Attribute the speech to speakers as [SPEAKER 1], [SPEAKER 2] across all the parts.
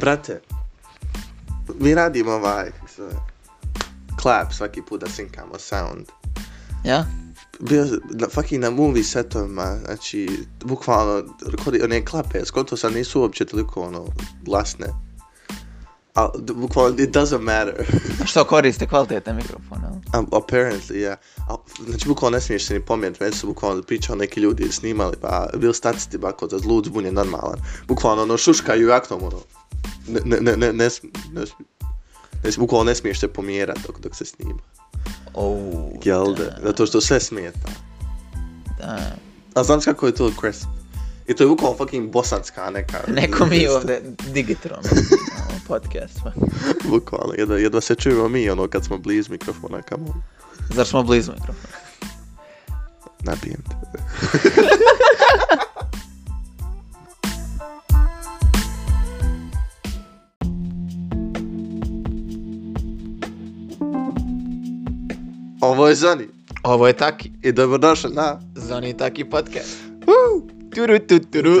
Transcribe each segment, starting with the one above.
[SPEAKER 1] Brate, mi radimo ovaj s- clap svaki put da sinkamo sound.
[SPEAKER 2] Ja?
[SPEAKER 1] Bio na, fucking na movie setovima, znači, bukvalno, kod one klape, skonto sam nisu uopće toliko, ono, glasne. A, d- bukvalno, it doesn't matter.
[SPEAKER 2] A Što koriste kvalitetne mikrofone, jel?
[SPEAKER 1] Um, apparently, yeah. A, znači, bukvalno ne smiješ se ni pomijeti, već su bukvalno pričao neki ljudi snimali, pa bil statisti bako da zlud zbun je normalan. Bukvalno, ono, šuškaju jaknom, ono, ne, ne, ne, ne, ne, sm- ne, sm- ne, sm- bukvalno ne smiješ se pomjerati dok, dok se snima.
[SPEAKER 2] Ou,
[SPEAKER 1] Jel
[SPEAKER 2] da,
[SPEAKER 1] da? Zato što sve smeta.
[SPEAKER 2] da.
[SPEAKER 1] A znaš kako je to crisp? I to je bukvalno fucking bosanska neka.
[SPEAKER 2] Neko mi ovdje digitron ono, podcast. Pa.
[SPEAKER 1] Bukvalno, jedva, jedva se čujemo mi, ono, kad smo blizu mikrofona, kamo,
[SPEAKER 2] Zar smo blizu mikrofona?
[SPEAKER 1] nabijem te. Ovo je Zoni
[SPEAKER 2] Ovo je taki.
[SPEAKER 1] i dobrodošli na...
[SPEAKER 2] Zoni i taki podcast.
[SPEAKER 1] Uh,
[SPEAKER 2] Turu, tu, turu.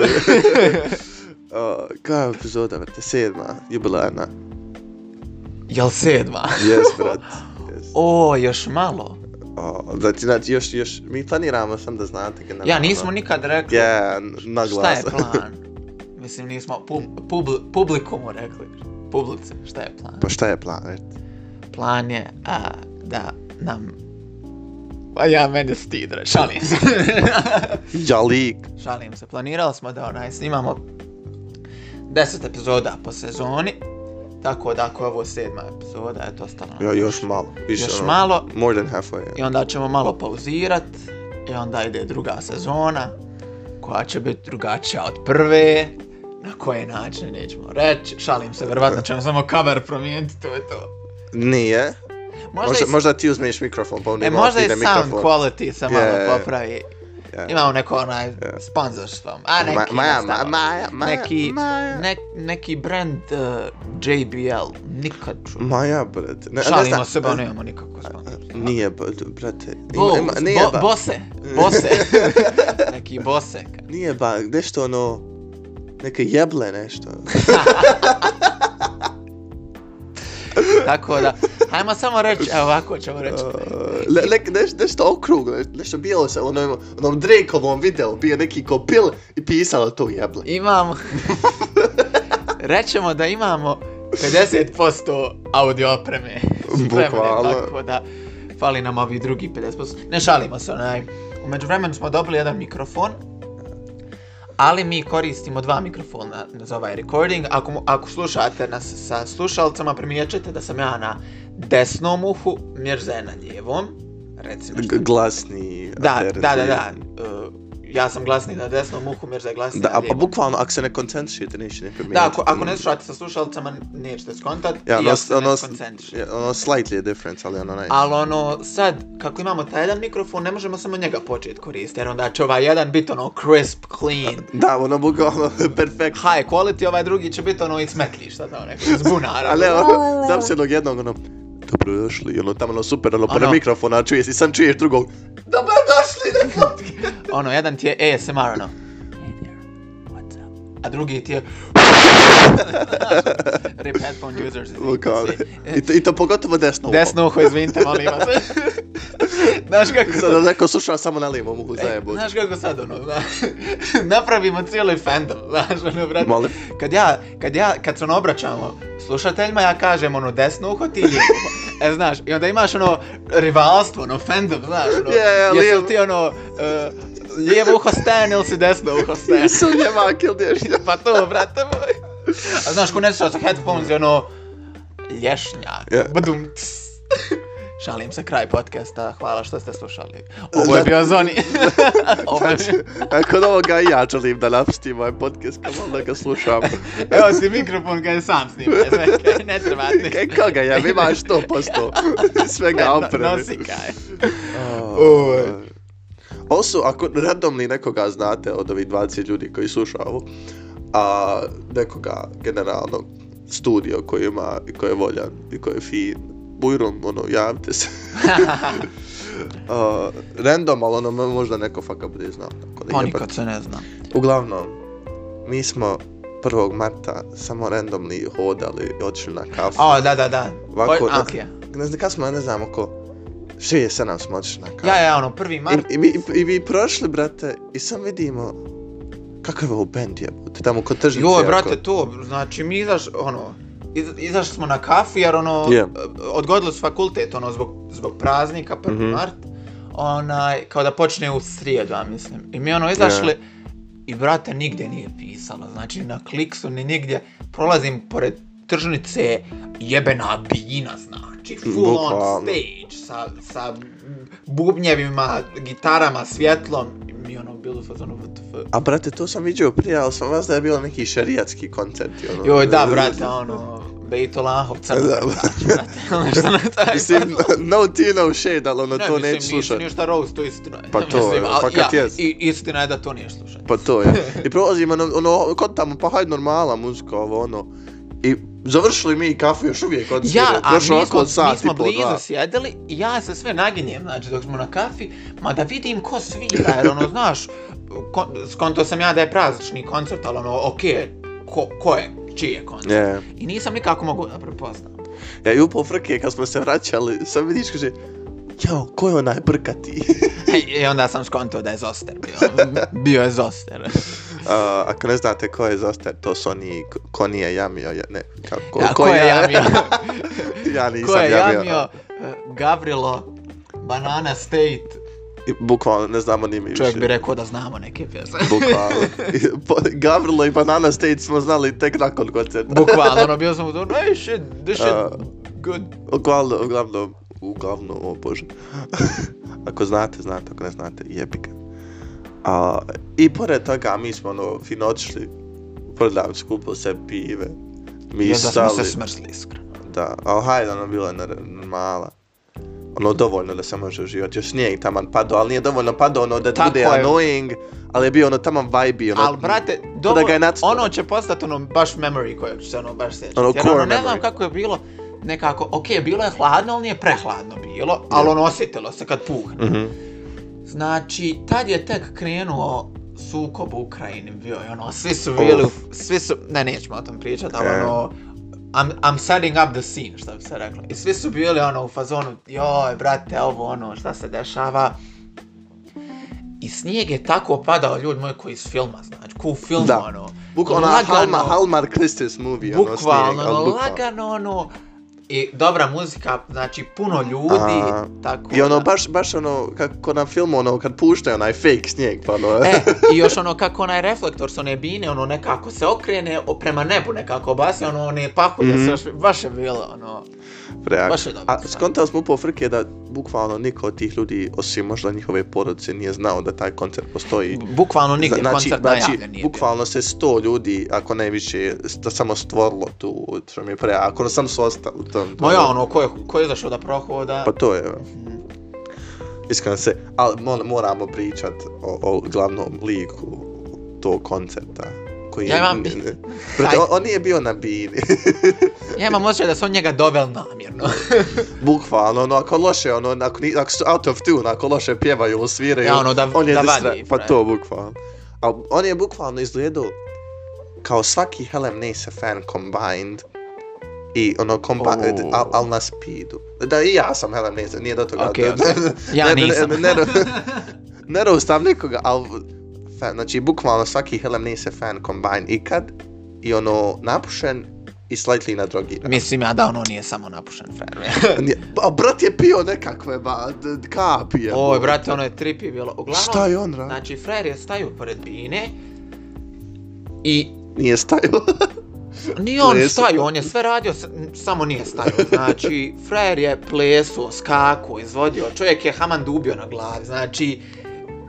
[SPEAKER 1] o, koja je epizoda, brate, sedma, jubilarna.
[SPEAKER 2] Jel sedma?
[SPEAKER 1] Jes, brat. Jes.
[SPEAKER 2] O, još malo.
[SPEAKER 1] O, znači, znači, još, još, mi planiramo sam da znate generalno.
[SPEAKER 2] Ja, nismo nikad rekli
[SPEAKER 1] Ja, na glas.
[SPEAKER 2] šta je plan. Mislim, nismo pub, pub, publikumu rekli. Publice, šta je plan?
[SPEAKER 1] pa šta je plan, red?
[SPEAKER 2] Plan je a, da nam... Pa ja, mene stid, re, šalim se.
[SPEAKER 1] Ja lik.
[SPEAKER 2] šalim se. Planirali smo da onaj snimamo 10 epizoda po sezoni. Tako da ako je ovo sedma epizoda, eto ostalo nam
[SPEAKER 1] Ja, još malo. Više,
[SPEAKER 2] još
[SPEAKER 1] ono,
[SPEAKER 2] malo
[SPEAKER 1] More than halfway.
[SPEAKER 2] i onda ćemo malo pauzirat i onda ide druga sezona koja će biti drugačija od prve na koje načine nećemo reći, šalim se, verovatno ćemo samo cover promijeniti, to je to.
[SPEAKER 1] Nije.
[SPEAKER 2] Možda,
[SPEAKER 1] Možda,
[SPEAKER 2] i, možda,
[SPEAKER 1] možda ti uzmeš mikrofon, pa onda
[SPEAKER 2] e,
[SPEAKER 1] malo
[SPEAKER 2] možda i
[SPEAKER 1] ide
[SPEAKER 2] sound
[SPEAKER 1] mikrofon.
[SPEAKER 2] quality se malo
[SPEAKER 1] Je, je, je.
[SPEAKER 2] popravi.
[SPEAKER 1] Ja.
[SPEAKER 2] Imamo neko onaj
[SPEAKER 1] Je.
[SPEAKER 2] sponzorstvo, a neki
[SPEAKER 1] Ma- Maja,
[SPEAKER 2] nastavak.
[SPEAKER 1] ma, Maja, Maja,
[SPEAKER 2] neki,
[SPEAKER 1] Maja.
[SPEAKER 2] ne, neki brand uh, JBL, nikad ču.
[SPEAKER 1] Maja, brate. Ne, ne
[SPEAKER 2] Šalimo
[SPEAKER 1] znam.
[SPEAKER 2] se, ba nemamo nikako sponzorstvo.
[SPEAKER 1] Nije, br- brate. Ima,
[SPEAKER 2] Bo,
[SPEAKER 1] ima, nije,
[SPEAKER 2] bo,
[SPEAKER 1] ba,
[SPEAKER 2] bose, bose, neki bose.
[SPEAKER 1] nije ba, nešto ono, neke jeble nešto.
[SPEAKER 2] Tako da, hajmo samo reći, evo ovako ćemo reći.
[SPEAKER 1] Le, nek, neš, nešto okruglo, nešto bijelo se, ono, onom Drakeovom videu bio neki kopil i pisalo to jeble.
[SPEAKER 2] Imamo, rećemo da imamo 50% audio opreme. spremne,
[SPEAKER 1] Bukvalno.
[SPEAKER 2] Tako da, fali nam ovi drugi 50%. Ne šalimo se, onaj, umeđu vremenu smo dobili jedan mikrofon, ali mi koristimo dva mikrofona za ovaj recording. Ako, mu- ako slušate nas sa slušalcama, primijećete da sam ja na desnom uhu, Mirza je na lijevom, recimo.
[SPEAKER 1] G- glasni.
[SPEAKER 2] Da,
[SPEAKER 1] afere,
[SPEAKER 2] da, da,
[SPEAKER 1] te-
[SPEAKER 2] da. Uh, ja sam glasni na desnom uhu, Mirza je glasni
[SPEAKER 1] Da,
[SPEAKER 2] na
[SPEAKER 1] a pa
[SPEAKER 2] lijevom.
[SPEAKER 1] bukvalno, ako se ne koncentrišete, neće ne primijetiti.
[SPEAKER 2] Da, ako, ako ne slušate sa slušalcama, nećete skontat
[SPEAKER 1] Ja,
[SPEAKER 2] i
[SPEAKER 1] ono,
[SPEAKER 2] ako se
[SPEAKER 1] ono,
[SPEAKER 2] ne skoncentriš.
[SPEAKER 1] ja, ono slightly je difference, ali ono naj...
[SPEAKER 2] Ali ono, sad, kako imamo taj jedan mikrofon, ne možemo samo njega početi koristiti, jer onda će ovaj jedan biti ono crisp, clean,
[SPEAKER 1] Da, ono bukvalno perfekt.
[SPEAKER 2] high quality, ovaj drugi će biti ono i smetli, šta tamo neko, iz bunara.
[SPEAKER 1] Ali ono, znam se jednog jednog, ono, dobrodošli, ono, tamo ono super, ono, pored
[SPEAKER 2] Ono.
[SPEAKER 1] mikrofona čuješ i sam čuješ drugog, dobrodošli na podcast.
[SPEAKER 2] ono, jedan ti je ASMR, ono, hey there, what's up? A drugi ti je... Rip headphone users. izvinite se.
[SPEAKER 1] Bukvalno. ono, I to, I to pogotovo desno. uho.
[SPEAKER 2] Desno uho, izvinite, molim vas. Znaš kako
[SPEAKER 1] Sad ono, neko sluša samo na lijevom uhu,
[SPEAKER 2] E,
[SPEAKER 1] zajebo.
[SPEAKER 2] Znaš kako sad ono, na, napravimo cijeli fandom, znaš ono, brate.
[SPEAKER 1] Molim.
[SPEAKER 2] Kad ja, kad ja, kad se ono obraćamo slušateljima, ja kažem ono desno uho ti lijevo. E, znaš, i onda imaš ono rivalstvo, ono fandom, znaš, ono,
[SPEAKER 1] Je, je,
[SPEAKER 2] jesi
[SPEAKER 1] lijevo.
[SPEAKER 2] li ti ono, uh, lijevo uho stan ili si desno uho stan?
[SPEAKER 1] Jesu ljemak ili dješnja.
[SPEAKER 2] pa to, brate moj. A znaš, ko ne sluša sa headphones i ono, lješnjak,
[SPEAKER 1] Je.
[SPEAKER 2] badum, ts. Šalim se, kraj podcasta, hvala što ste slušali. Ovo je bio Zoni. Ovo je bio...
[SPEAKER 1] Nakon ovoga i ja želim da napustim ovaj podcast, kamo da ga slušam.
[SPEAKER 2] Evo ti mikrofon ga je sam snimio, sve, ne treba ti.
[SPEAKER 1] Kaj E, koga ja, imaš 100% svega opreme.
[SPEAKER 2] Nosi ga je.
[SPEAKER 1] Oj. Also, ako randomli nekoga znate od ovih 20 ljudi koji sluša ovo, a nekoga generalno studio koji ima i koji je voljan i koji je fin, bujrom, ono, javite se. uh, random, ali ono, možda neko faka bude znao. tako da
[SPEAKER 2] Pa
[SPEAKER 1] jebate.
[SPEAKER 2] nikad se ne zna.
[SPEAKER 1] Uglavnom, mi smo 1. marta samo randomni hodali, otišli na kafu.
[SPEAKER 2] O, da, da, da.
[SPEAKER 1] Ovako,
[SPEAKER 2] Ovako,
[SPEAKER 1] na-
[SPEAKER 2] okay.
[SPEAKER 1] Ne znam, kad smo, ne znam, oko 6-7 smo otišli na kafu.
[SPEAKER 2] Ja, ja, ono, prvi mart.
[SPEAKER 1] I, i, mi, I mi prošli, brate, i sam vidimo kakav je ovo band je, tamo kod tržnice.
[SPEAKER 2] Joj,
[SPEAKER 1] jako-
[SPEAKER 2] brate, to, znači, mi izaš, ono, iz, izašli smo na kafu, jer, ono,
[SPEAKER 1] Je.
[SPEAKER 2] odgodili su fakultet, ono, zbog, zbog praznika, 1.
[SPEAKER 1] Mhm.
[SPEAKER 2] mart, onaj, kao da počne u srijedu, ja mislim. I mi, ono, izašli, i, brate, nigdje nije pisalo, znači, na kliksu, ni nigdje, prolazim pored tržnice, jebena bina, znači, full
[SPEAKER 1] Bukvalno.
[SPEAKER 2] on stage, sa, sa bubnjevima, gitarama, svjetlom, i mi, ono, bilo u fazonu, what the fuck.
[SPEAKER 1] A brate, to sam vidio prije, ali sam vas da je bilo neki šarijatski koncert. Ono.
[SPEAKER 2] Joj, da, brate, ono, Bejto Lahov, crno,
[SPEAKER 1] Da.
[SPEAKER 2] znači, brate, ono šta na taj...
[SPEAKER 1] Mislim, no tea, no shade, ali ono,
[SPEAKER 2] Ne,
[SPEAKER 1] to
[SPEAKER 2] mislim,
[SPEAKER 1] neću slušat.
[SPEAKER 2] Mislim, ništa roast, to je istina.
[SPEAKER 1] Pa to,
[SPEAKER 2] mislim,
[SPEAKER 1] evo,
[SPEAKER 2] ali
[SPEAKER 1] pa kad
[SPEAKER 2] ja,
[SPEAKER 1] jest.
[SPEAKER 2] i, istina je da to nije slušati.
[SPEAKER 1] Pa to je. I prolazimo, ono, ono kod tamo, pa hajde normala muzika, ovo, ono. I završili mi kafu još uvijek od
[SPEAKER 2] Ja,
[SPEAKER 1] svire.
[SPEAKER 2] a mi
[SPEAKER 1] Prošlo
[SPEAKER 2] smo,
[SPEAKER 1] oko sat
[SPEAKER 2] mi
[SPEAKER 1] i
[SPEAKER 2] smo
[SPEAKER 1] pol,
[SPEAKER 2] blizu
[SPEAKER 1] dva.
[SPEAKER 2] sjedili i ja se sve naginjem, znači dok smo na kafi, ma da vidim ko svira, jer ono, znaš, kon, skonto sam ja da je praznični koncert, ali ono, okej, ko, ko je, čiji je koncert.
[SPEAKER 1] Je.
[SPEAKER 2] I nisam nikako mogu da prepoznam.
[SPEAKER 1] Ja i upao frke kad smo se vraćali, sam vidiš kaže, jao, ko je onaj brkati?
[SPEAKER 2] I, I onda sam skonto da je Zoster bio. Bio je Zoster.
[SPEAKER 1] A, ako ne znate ko je Zoster, to su oni, ko- ko nije jamio, ja, ne, kako,
[SPEAKER 2] Ja, ko je jamio?
[SPEAKER 1] ja
[SPEAKER 2] Ko
[SPEAKER 1] nisam
[SPEAKER 2] je
[SPEAKER 1] jamio.
[SPEAKER 2] jamio? Eh, Gavrilo, Banana State.
[SPEAKER 1] I Bukvalno, ne znamo ni mi više.
[SPEAKER 2] Čovjek bi rekao da znamo neke pjesme.
[SPEAKER 1] Bukvalno. I po- Gavrilo i Banana State smo znali tek nakon koncerta.
[SPEAKER 2] Bukvalno, ono bio sam u donu, ej shit, this shit,
[SPEAKER 1] A.
[SPEAKER 2] good.
[SPEAKER 1] Uglavnom, uglavnom, uglavnom, o bože. ako znate, znate, ako ne znate, jebika. A, I pored toga, mi smo ono, fino otišli u prodavnicu, kupili se pive. Mi
[SPEAKER 2] Jedva smo
[SPEAKER 1] stali,
[SPEAKER 2] se smrzli, iskreno.
[SPEAKER 1] da, ali hajde, ono, bilo je nar- normala. Ono, dovoljno da se može uživati, još snijeg taman padao, ali nije dovoljno padao, ono, da
[SPEAKER 2] Tako
[SPEAKER 1] bude
[SPEAKER 2] je.
[SPEAKER 1] annoying, ali je bio ono taman vibe, ono,
[SPEAKER 2] Al brate,
[SPEAKER 1] ko da
[SPEAKER 2] dobro,
[SPEAKER 1] ga je nacrtao.
[SPEAKER 2] ono će postati ono baš memory kojeg ću se ono baš sjećati.
[SPEAKER 1] Ono,
[SPEAKER 2] Jer
[SPEAKER 1] core
[SPEAKER 2] ono, ne znam
[SPEAKER 1] memory.
[SPEAKER 2] kako je bilo, nekako, okej, bilo je hladno, ali nije prehladno bilo, ali ono osjetilo se kad puhne.
[SPEAKER 1] Mhm.
[SPEAKER 2] Znači, tad je tek krenuo sukob u Ukrajini bio i ono, svi su bili,
[SPEAKER 1] Uf.
[SPEAKER 2] u- svi su, ne, nećemo o tom pričati, ali
[SPEAKER 1] E.
[SPEAKER 2] ono, I'm, I'm setting up the scene, što bi se reklo. I svi su bili ono u fazonu, joj, brate, ovo ono, šta se dešava. I snijeg je tako padao, ljudi moji, koji iz filma, znači, ko u filmu,
[SPEAKER 1] Da.
[SPEAKER 2] ono.
[SPEAKER 1] Bukvalno, ona
[SPEAKER 2] lagano-
[SPEAKER 1] Halma, Halmar Christmas movie, ono, snijeg,
[SPEAKER 2] Bukvalno,
[SPEAKER 1] ali bukvalno.
[SPEAKER 2] lagano, ono, i dobra muzika, znači, puno ljudi,
[SPEAKER 1] A,
[SPEAKER 2] tako
[SPEAKER 1] I ono,
[SPEAKER 2] da.
[SPEAKER 1] baš, baš ono, kako na filmu, ono, kad puštaju onaj fake snijeg, pa ono...
[SPEAKER 2] E, i još ono kako onaj reflektor s one bine, ono nekako se okrene o- prema nebu nekako obasi, ono one pahulje
[SPEAKER 1] Mhm.
[SPEAKER 2] mm. se još, baš je bilo, ono,
[SPEAKER 1] Prejak.
[SPEAKER 2] baš je dobro.
[SPEAKER 1] A skontali smo upo frke da bukvalno niko od tih ljudi, osim možda njihove porodice, nije znao da taj koncert postoji.
[SPEAKER 2] B- Bukvalno nigdje znači, koncert znači, najavljen nije bukval...
[SPEAKER 1] bukvalno se sto ljudi, ako ne više, sta samo stvorilo tu, što mi je prejak, ono sam su ostali u tom.
[SPEAKER 2] bio. Ma ja ono, ko je, ko je izašao da prohoda,
[SPEAKER 1] Pa to je,
[SPEAKER 2] Mhm.
[SPEAKER 1] iskreno se, ali mo- moramo pričat o, o glavnom liku tog koncerta. Koji
[SPEAKER 2] Ja imam-
[SPEAKER 1] Brate,
[SPEAKER 2] Ajde.
[SPEAKER 1] on, on nije bio na bini.
[SPEAKER 2] ja imam osjećaj da su on njega dovel namjerno.
[SPEAKER 1] Bukvalno, ono, ako loše, ono, ako, ni, ako su out of tune, ako loše pjevaju ili sviraju,
[SPEAKER 2] Ja, ono, da-
[SPEAKER 1] on je
[SPEAKER 2] da
[SPEAKER 1] distra-
[SPEAKER 2] vadi,
[SPEAKER 1] Pa
[SPEAKER 2] frajer.
[SPEAKER 1] to, bukvalno. A on je bukvalno izgledao kao svaki Helem Nase fan combined. I ono, combined,
[SPEAKER 2] Oh.
[SPEAKER 1] al, al na speedu. Da, i ja sam Helem Nase, nije do toga.
[SPEAKER 2] Okej,
[SPEAKER 1] da-
[SPEAKER 2] okej. Ja
[SPEAKER 1] ne,
[SPEAKER 2] nisam.
[SPEAKER 1] Ne, ne, ne, ne roastam nikoga, ali, fan, znači, bukvalno svaki Helem Nase fan combined ikad. I ono, napušen i slightly na drogi.
[SPEAKER 2] Mislim ja da ono nije samo napušen frajer.
[SPEAKER 1] Nije, a brat je pio nekakve, ba, d- d- kapi je.
[SPEAKER 2] Oj, brate, ono je tripi bilo. Uglavnom,
[SPEAKER 1] Šta je on radio?
[SPEAKER 2] Znači, frajer je staju pored bine i
[SPEAKER 1] Nije stajao.
[SPEAKER 2] Nije on
[SPEAKER 1] Plesu.
[SPEAKER 2] stajao, on je sve radio, s- n- samo nije stajao. Znači, frajer je plesuo, skakuo, izvodio, čovjek je Haman dubio na glavi, znači,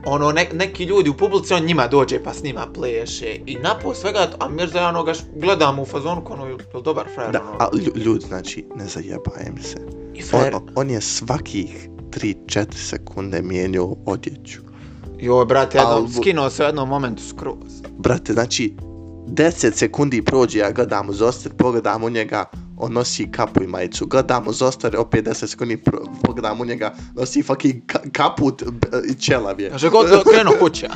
[SPEAKER 2] ono, ne, neki ljudi u publici, on njima dođe pa s njima pleše i napao svega, a Mirza ja onoga š- gledam u fazonu, kao ono, je li dobar frajer?
[SPEAKER 1] Da,
[SPEAKER 2] ono,
[SPEAKER 1] a ono- lju- ljudi, znači, ne zajebajem se.
[SPEAKER 2] I
[SPEAKER 1] On,
[SPEAKER 2] frajer,
[SPEAKER 1] on je svakih 3-4 sekunde mijenio odjeću.
[SPEAKER 2] joj, brate, jednom,
[SPEAKER 1] Albu-
[SPEAKER 2] skinuo se u jednom momentu skroz.
[SPEAKER 1] Brate, znači, 10 sekundi prođe, ja gledam u Zoster, pogledam u njega, on nosi kapu i majicu, gledamo Zostare, opet 10 sekundi pro- pogledamo njega, nosi fucking ka- kaput b- i ćelav je.
[SPEAKER 2] Kaže, god krenu kuća.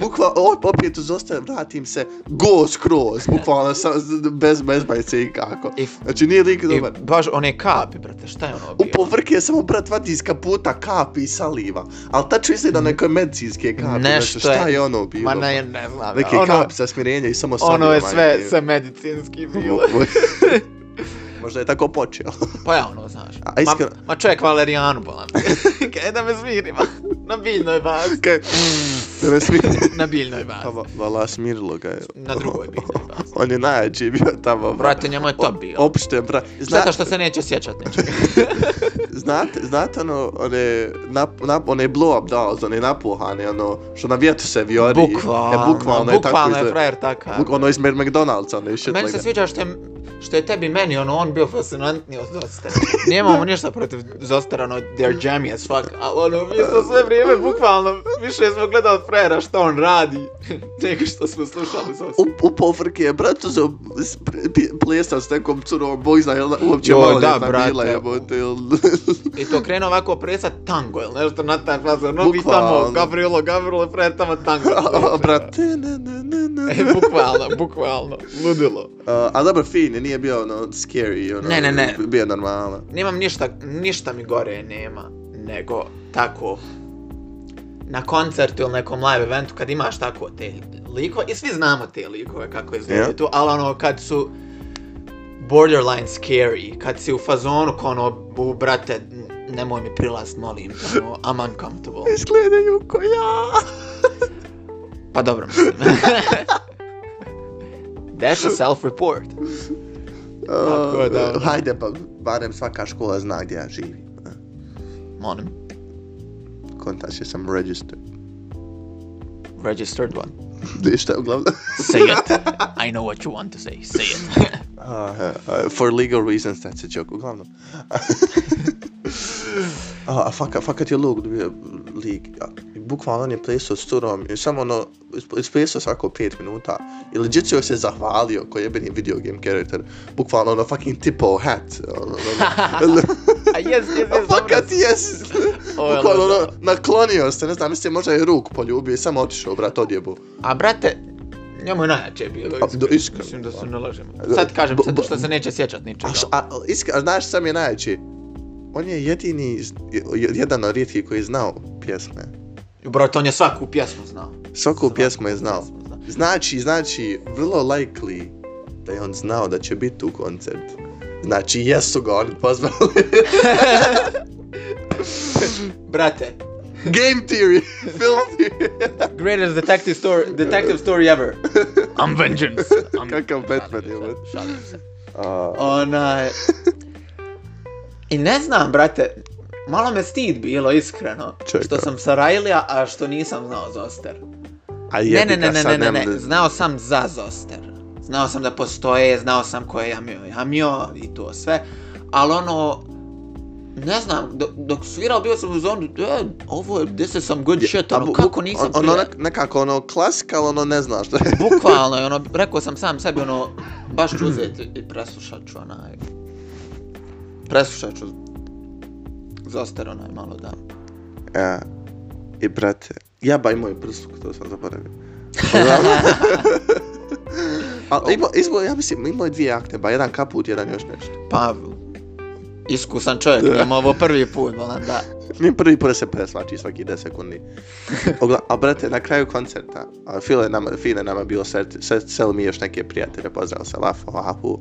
[SPEAKER 1] Bukva, op- opet uz Zostare vratim se, go skroz, bukvalno sa, z- bez, bez majice i kako.
[SPEAKER 2] I, f-
[SPEAKER 1] Znači nije lik
[SPEAKER 2] i
[SPEAKER 1] dobar.
[SPEAKER 2] baš one kapi, brate, šta je ono
[SPEAKER 1] U
[SPEAKER 2] bio?
[SPEAKER 1] povrke samo brat vadi iz kaputa kapi i saliva. Ali tačno izgleda neke medicinske kapi.
[SPEAKER 2] Mm. Nešto
[SPEAKER 1] Nešto šta je ono bilo?
[SPEAKER 2] Ma ne, ne znam.
[SPEAKER 1] Neke
[SPEAKER 2] ono,
[SPEAKER 1] kapi sa smirenja i samo saliva.
[SPEAKER 2] ono je sve,
[SPEAKER 1] i-
[SPEAKER 2] sve medicinski bilo.
[SPEAKER 1] Možda je tako počeo.
[SPEAKER 2] Pa ja ono, znaš.
[SPEAKER 1] A iskreno-
[SPEAKER 2] Ma, ma čovjek valerijanu bolam. Kaj da me smirima. Na biljnoj bazi.
[SPEAKER 1] Kaj, da me smiri.
[SPEAKER 2] Na biljnoj
[SPEAKER 1] Pa
[SPEAKER 2] bazi.
[SPEAKER 1] va- Vala smirilo ga je.
[SPEAKER 2] Na drugoj biljnoj bazi.
[SPEAKER 1] On je najjači bio tamo. bra.
[SPEAKER 2] Brate, njemu je to
[SPEAKER 1] O-
[SPEAKER 2] bilo.
[SPEAKER 1] Opšte, bra. Zna,
[SPEAKER 2] Zato što se neće sjećat nečega.
[SPEAKER 1] znate, znate ono, one, nap, nap, one blow up dolls, one napuhane, ono, što na vjetru se viori.
[SPEAKER 2] Bukvalno,
[SPEAKER 1] E, bukvalno, je tako
[SPEAKER 2] bukvalno je
[SPEAKER 1] izgleda.
[SPEAKER 2] frajer takav.
[SPEAKER 1] Buk, ono iz Mc- McDonald'sa, ono iz shit
[SPEAKER 2] Meni
[SPEAKER 1] like
[SPEAKER 2] se
[SPEAKER 1] that.
[SPEAKER 2] sviđa što je, što je tebi meni, ono, on bio fascinantniji od Zostara. Nemamo ništa protiv Zostara, ono, they're jammy as fuck, ali ono, mi smo sve vrijeme, bukvalno, više smo gledali od frajera šta on radi, nego što smo slušali Zostara.
[SPEAKER 1] u, u povrke je, brate, za s- pri- plesao s nekom curom, bog zna, jel uopće
[SPEAKER 2] Joj,
[SPEAKER 1] malo
[SPEAKER 2] da,
[SPEAKER 1] ljetna bila,
[SPEAKER 2] brate.
[SPEAKER 1] jebote, jel...
[SPEAKER 2] I to krenuo ovako presat tango, ili nešto na taj plaza, ono, vi tamo,
[SPEAKER 1] Bukvalno.
[SPEAKER 2] Gabrielo, Gabrielo, frajer tamo tango.
[SPEAKER 1] A, brate, ne, ne, ne, ne.
[SPEAKER 2] E, bukvalno, bukvalno, ludilo.
[SPEAKER 1] Uh, a dobro, fin je, nije bio ono scary, ono,
[SPEAKER 2] Ne, ne, ne.
[SPEAKER 1] bio je normalan.
[SPEAKER 2] nemam ništa, ništa mi gore nema nego tako na koncertu ili nekom live eventu kad imaš tako te likove i svi znamo te likove kako izgledaju
[SPEAKER 1] Ja.
[SPEAKER 2] tu, ali ono kad su borderline scary, kad si u fazonu ko ono, bu, brate, nemoj mi prilaz, molim, te, ono, I'm uncomfortable.
[SPEAKER 1] Izgledaju ko ja!
[SPEAKER 2] Pa dobro, mislim. That's a self-report. Tako da.
[SPEAKER 1] Uh, hajde, pa barem svaka škola zna gdje ja živim.
[SPEAKER 2] Molim,
[SPEAKER 1] Kontaš je sam register.
[SPEAKER 2] registered one.
[SPEAKER 1] Ništa, uglavnom.
[SPEAKER 2] Say it. I know what you want to say. Say it.
[SPEAKER 1] Uh, uh, for legal reasons, that's a joke, uglavnom. A, a fakat, fakat je luk bio lig. a, Bukvalno on je plesao s turom i samo ono, isp- isplesao svako 5 minuta. I legit se joj se zahvalio koji je beni video game character. Bukvalno ono fucking tipo hat. Ono, ono,
[SPEAKER 2] A jes, jes,
[SPEAKER 1] A
[SPEAKER 2] jes, dobro.
[SPEAKER 1] fakat jes!
[SPEAKER 2] Ovo je
[SPEAKER 1] Bukvalno
[SPEAKER 2] ludo.
[SPEAKER 1] ono, naklonio se, ne znam, mislim možda je ruk poljubio i samo otišao, brat, odjebu.
[SPEAKER 2] A brate, njemu je najjače bilo.
[SPEAKER 1] Pa, do- iskreno.
[SPEAKER 2] Mislim da se ne lažemo.
[SPEAKER 1] Da,
[SPEAKER 2] Sad kažem,
[SPEAKER 1] bo-
[SPEAKER 2] sad
[SPEAKER 1] bo-
[SPEAKER 2] što se neće sjećat ničega.
[SPEAKER 1] A, š- a, a, iska, a znaš sam je najjači? On je jedini, z- je- jedan od rijetkih koji je znao pjesme.
[SPEAKER 2] Brate, on je svaku pjesmu znao.
[SPEAKER 1] Svaku
[SPEAKER 2] Svaku
[SPEAKER 1] pjesmu je znao.
[SPEAKER 2] pjesmu znao.
[SPEAKER 1] Znači, znači, vrlo likely da je on znao da će biti u koncert. Znači, jesu ga oni pozvali.
[SPEAKER 2] Brate,
[SPEAKER 1] Game theory, film theory.
[SPEAKER 2] greatest detective story, detective story ever. I'm vengeance. I'm...
[SPEAKER 1] Kakav Batman je,
[SPEAKER 2] Šalim
[SPEAKER 1] brat.
[SPEAKER 2] se, Šalim se.
[SPEAKER 1] A,
[SPEAKER 2] Onaj... I ne znam, brate, malo me stid bilo, iskreno.
[SPEAKER 1] Čega?
[SPEAKER 2] Što sam sa Rajlija, a što nisam znao za Oster.
[SPEAKER 1] a
[SPEAKER 2] Ne,
[SPEAKER 1] jebi
[SPEAKER 2] ne,
[SPEAKER 1] ga,
[SPEAKER 2] ne, ne,
[SPEAKER 1] sad
[SPEAKER 2] ne, ne,
[SPEAKER 1] nemam
[SPEAKER 2] ne,
[SPEAKER 1] da-
[SPEAKER 2] znao sam za Zoster. Znao sam da postoje, znao sam ko je jamio, jamio i to sve. Ali ono, ne znam, dok, dok svirao bio sam u zonu, e, ovo je, this is some good shit,
[SPEAKER 1] A,
[SPEAKER 2] ono,
[SPEAKER 1] bu-
[SPEAKER 2] kako nisam
[SPEAKER 1] on, ono,
[SPEAKER 2] prije-
[SPEAKER 1] nek- nekako ono klasika, ali ono ne znaš šta je.
[SPEAKER 2] Bukvalno, je, ono, rekao sam sam sebi, ono, baš ću uzeti i preslušat ću onaj, preslušat ću Zoster onaj malo da.
[SPEAKER 1] Ja. E, I brate, jabaj moj prsluk, to sam zaboravio. Uglavnom- Ali imao, imao, ja mislim, imao je dvije akne, ba jedan kaput, jedan još nešto.
[SPEAKER 2] Pa, iskusan čovjek,
[SPEAKER 1] Da.
[SPEAKER 2] imam ovo prvi put, volam da.
[SPEAKER 1] Mi prvi put se presvači svaki 10 sekundi. Ogla, a brate, na kraju koncerta, a File je nama, File je nama bio set, set, sel mi još neke prijatelje, pozdrav se, lafo, hahu.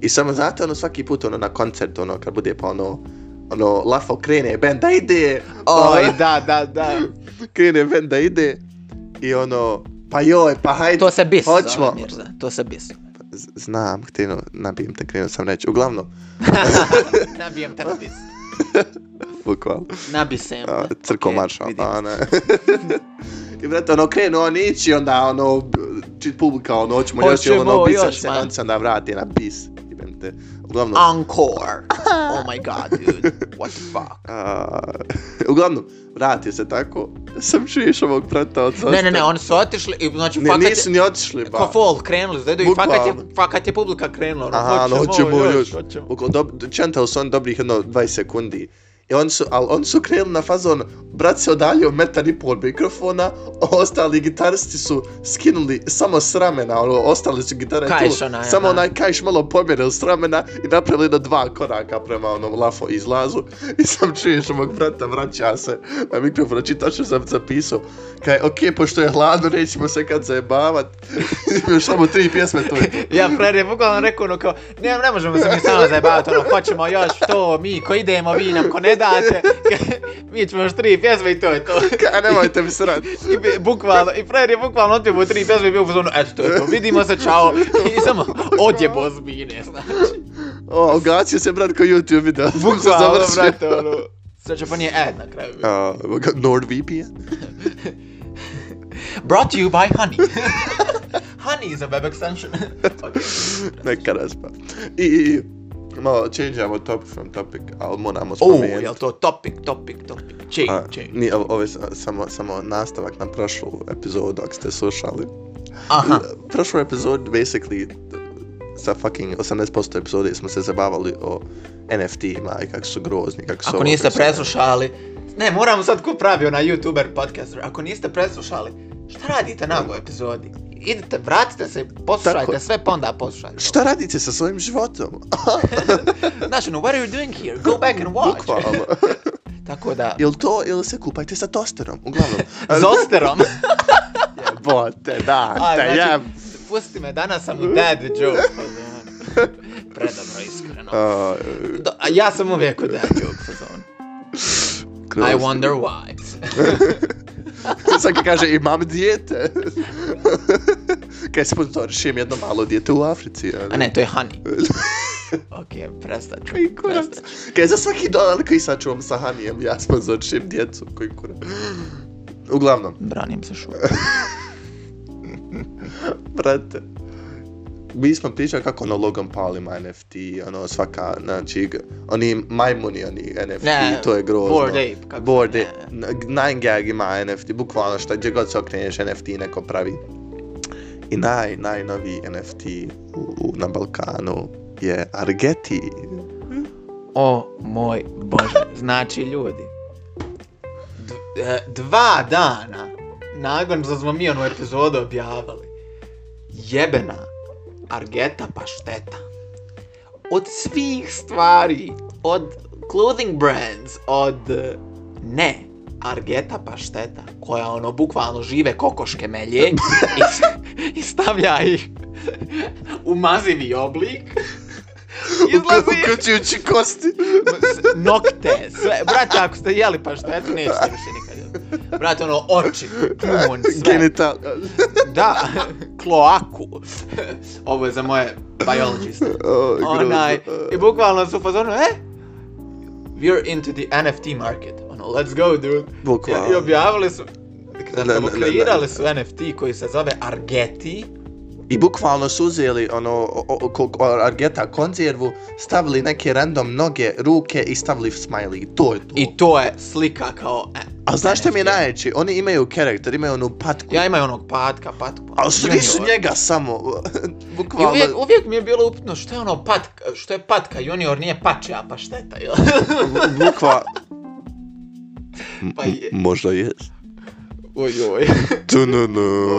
[SPEAKER 1] I samo znate, ono, svaki put, ono, na koncert, ono, kad bude pa ono, ono, lafo krene, bend, Ono, da ide!
[SPEAKER 2] Oj, da, da, da.
[SPEAKER 1] krene bend da ide i ono, pa joj, pa hajde.
[SPEAKER 2] To se bis ono,
[SPEAKER 1] Hoćemo.
[SPEAKER 2] zove, Mirza, to se bis. zove.
[SPEAKER 1] Z- Znam, htjeno, nabijem te, krenuo sam reći. Uglavnom,
[SPEAKER 2] Nabijem te na bis.
[SPEAKER 1] bukvalno,
[SPEAKER 2] Nabisem.
[SPEAKER 1] a, crko
[SPEAKER 2] Ok,
[SPEAKER 1] okay, maršal,
[SPEAKER 2] vidim
[SPEAKER 1] pa ne. I vrata, ono, krenu on ići, onda, ono, čit publika, ono, hoćemo još, i ono,
[SPEAKER 2] Hoćemo
[SPEAKER 1] bisa
[SPEAKER 2] još,
[SPEAKER 1] se,
[SPEAKER 2] man.
[SPEAKER 1] on se onda vrati na bis. Jebem te. uglavnom...
[SPEAKER 2] Encore. Oh my god, dude. What the fuck?
[SPEAKER 1] A, uglavnom, vratio se tako, sam čuješ ovog prataoca.
[SPEAKER 2] Ne, ne, ne, oni su otišli i znači
[SPEAKER 1] Ne,
[SPEAKER 2] fakat
[SPEAKER 1] nisu ni otišli,
[SPEAKER 2] Ko
[SPEAKER 1] ba.
[SPEAKER 2] fol, krenuli su, dedu i fakat je,
[SPEAKER 1] Bukvalno.
[SPEAKER 2] fakat je publika krenula, ono,
[SPEAKER 1] Aha, no, hoćemo još.
[SPEAKER 2] hoćemo.
[SPEAKER 1] Oko, dob, čentali su on dobrih jedno 20 sekundi. I oni su, ali oni su krenuli na fazon, brat se odaljio metar i pol mikrofona, a ostali gitaristi su skinuli samo s ramena, ono, ostali su gitare
[SPEAKER 2] Kajš
[SPEAKER 1] tu,
[SPEAKER 2] onaj,
[SPEAKER 1] samo
[SPEAKER 2] aha.
[SPEAKER 1] onaj kajš malo pomjeril s ramena i napravili na dva koraka prema onom lafo izlazu i sam čuješ mog brata vraća se na mikrofon, čitaš što sam zapisao, kaj, okej, pošto je hladno, nećemo se kad zajebavat, još samo tri pjesme, to je to.
[SPEAKER 2] Ja Fred je bukvalno rekao ono kao, ne, ne možemo se mi stalno zajebavati, ono, hoćemo još to, mi ko idemo, vi nam ko ne date, mi ćemo još tri pjesme i to je to.
[SPEAKER 1] Kaj, nemojte mi srati.
[SPEAKER 2] I bi- bukvalno, i Fred je bukvalno otjebo tri pjesme i bio u fazonu, eto to je to, vidimo se, čao, i samo odjebo zbine, znači.
[SPEAKER 1] O, ugasio se brat ko YouTube video.
[SPEAKER 2] Bukvalno,
[SPEAKER 1] Završio.
[SPEAKER 2] brate, ono, sreća pa nije ad na kraju. bio.
[SPEAKER 1] A, ga- NordVPN?
[SPEAKER 2] Brought to you by Honey. honey is a web extension. okay.
[SPEAKER 1] Neka razba. I, i, i, malo changeamo topic from topic, ali moramo
[SPEAKER 2] Oh,
[SPEAKER 1] spomenuti.
[SPEAKER 2] jel to topic, topic, topic,
[SPEAKER 1] A,
[SPEAKER 2] change, change.
[SPEAKER 1] nije, ovo je sa- samo, samo nastavak na prošlu epizodu, ako ste slušali.
[SPEAKER 2] Aha.
[SPEAKER 1] Prošlu epizodu, basically, sa fucking 80% epizode smo se zabavali o NFT-ima i kako su grozni, kako su...
[SPEAKER 2] Ako
[SPEAKER 1] ovo,
[SPEAKER 2] niste
[SPEAKER 1] kako su-
[SPEAKER 2] preslušali, ne, moramo sad ko pravi na youtuber podcaster, ako niste preslušali, šta radite na ovoj epizodi? Idite, vratite se, poslušajte
[SPEAKER 1] Tako je.
[SPEAKER 2] sve, pa onda poslušajte.
[SPEAKER 1] Šta radite sa svojim životom?
[SPEAKER 2] Znači, no, what are you doing here? Go back and watch.
[SPEAKER 1] Bukvalno.
[SPEAKER 2] Tako da,
[SPEAKER 1] Ili to, ili se kupajte sa tosterom, uglavnom.
[SPEAKER 2] zosterom.
[SPEAKER 1] Bote, da,
[SPEAKER 2] A,
[SPEAKER 1] da, ja...
[SPEAKER 2] znači, pusti me, danas sam u dad joke. Predobro, iskreno.
[SPEAKER 1] Uh,
[SPEAKER 2] Do, a ja sam uvijek u dad joke sezonu. I wonder why.
[SPEAKER 1] Sad kad kaže imam dijete. Kaj sponsoriš im jedno malo dijete u Africi.
[SPEAKER 2] A ne, to je honey. Okej, okay, prestat ću.
[SPEAKER 1] Koji kurac.
[SPEAKER 2] prestat ću.
[SPEAKER 1] Kaj za svaki dolar koji sačuvam sa Hanijem, ja sponsorišim djecu. Koji kurac. Uglavnom,
[SPEAKER 2] Branim se šume.
[SPEAKER 1] brate. Mi smo pričali kako ono Logan Paul ima NFT, ono svaka, znači, g- oni majmuni, oni NFT,
[SPEAKER 2] Ne,
[SPEAKER 1] to je grozno.
[SPEAKER 2] Bored Ape, kako-
[SPEAKER 1] Bored
[SPEAKER 2] ne,
[SPEAKER 1] Ape. N- Nine Gag ima NFT, bukvalno šta, gdje god se okreneš NFT neko pravi. I naj, najnoviji NFT u, u, na Balkanu je Argeti.
[SPEAKER 2] O moj bože, znači ljudi, d- e, dva dana nakon što smo mi onu epizodu objavili, jebena Argeta pa šteta. Od svih stvari, od clothing brands, od e, ne, Argeta pa šteta, koja ono bukvalno žive kokoške melje i, i stavlja ih u mazivi oblik. Izlazi,
[SPEAKER 1] Uključujući kosti.
[SPEAKER 2] S- nokte, sve. Brate, ako ste jeli pa šta, eto nećete više nikad jeli. Brate, ono, oči, klun, sve.
[SPEAKER 1] Genital.
[SPEAKER 2] Da, kloaku. Ovo je za moje biologiste.
[SPEAKER 1] O, grozno.
[SPEAKER 2] Onaj, i bukvalno su pozorno, e? We're into the NFT market. Ono, let's go, dude.
[SPEAKER 1] Bukvalno.
[SPEAKER 2] I objavili su,
[SPEAKER 1] Ne, ne, ne,
[SPEAKER 2] Zapravo,
[SPEAKER 1] ne.
[SPEAKER 2] kreirali su NFT koji se zove Argeti.
[SPEAKER 1] I bukvalno su uzeli ono, o, o, ko- ko- Argeta konzervu, stavili neke random noge, ruke i stavili smiley. I To je to.
[SPEAKER 2] I to je slika kao... e,
[SPEAKER 1] A znaš šta mi je
[SPEAKER 2] NFT?
[SPEAKER 1] najveći? Oni imaju karakter, imaju onu patku.
[SPEAKER 2] Ja imaju onog patka, patku.
[SPEAKER 1] Ali svi su
[SPEAKER 2] junior.
[SPEAKER 1] njega samo,
[SPEAKER 2] I
[SPEAKER 1] bukvalno.
[SPEAKER 2] uvijek, uvijek mi je bilo upitno što je ono patka, što je patka junior, nije pača, pa šteta, jel?
[SPEAKER 1] Bukva...
[SPEAKER 2] Pa je.
[SPEAKER 1] Možda je.
[SPEAKER 2] Oj, oj.
[SPEAKER 1] Tu no no.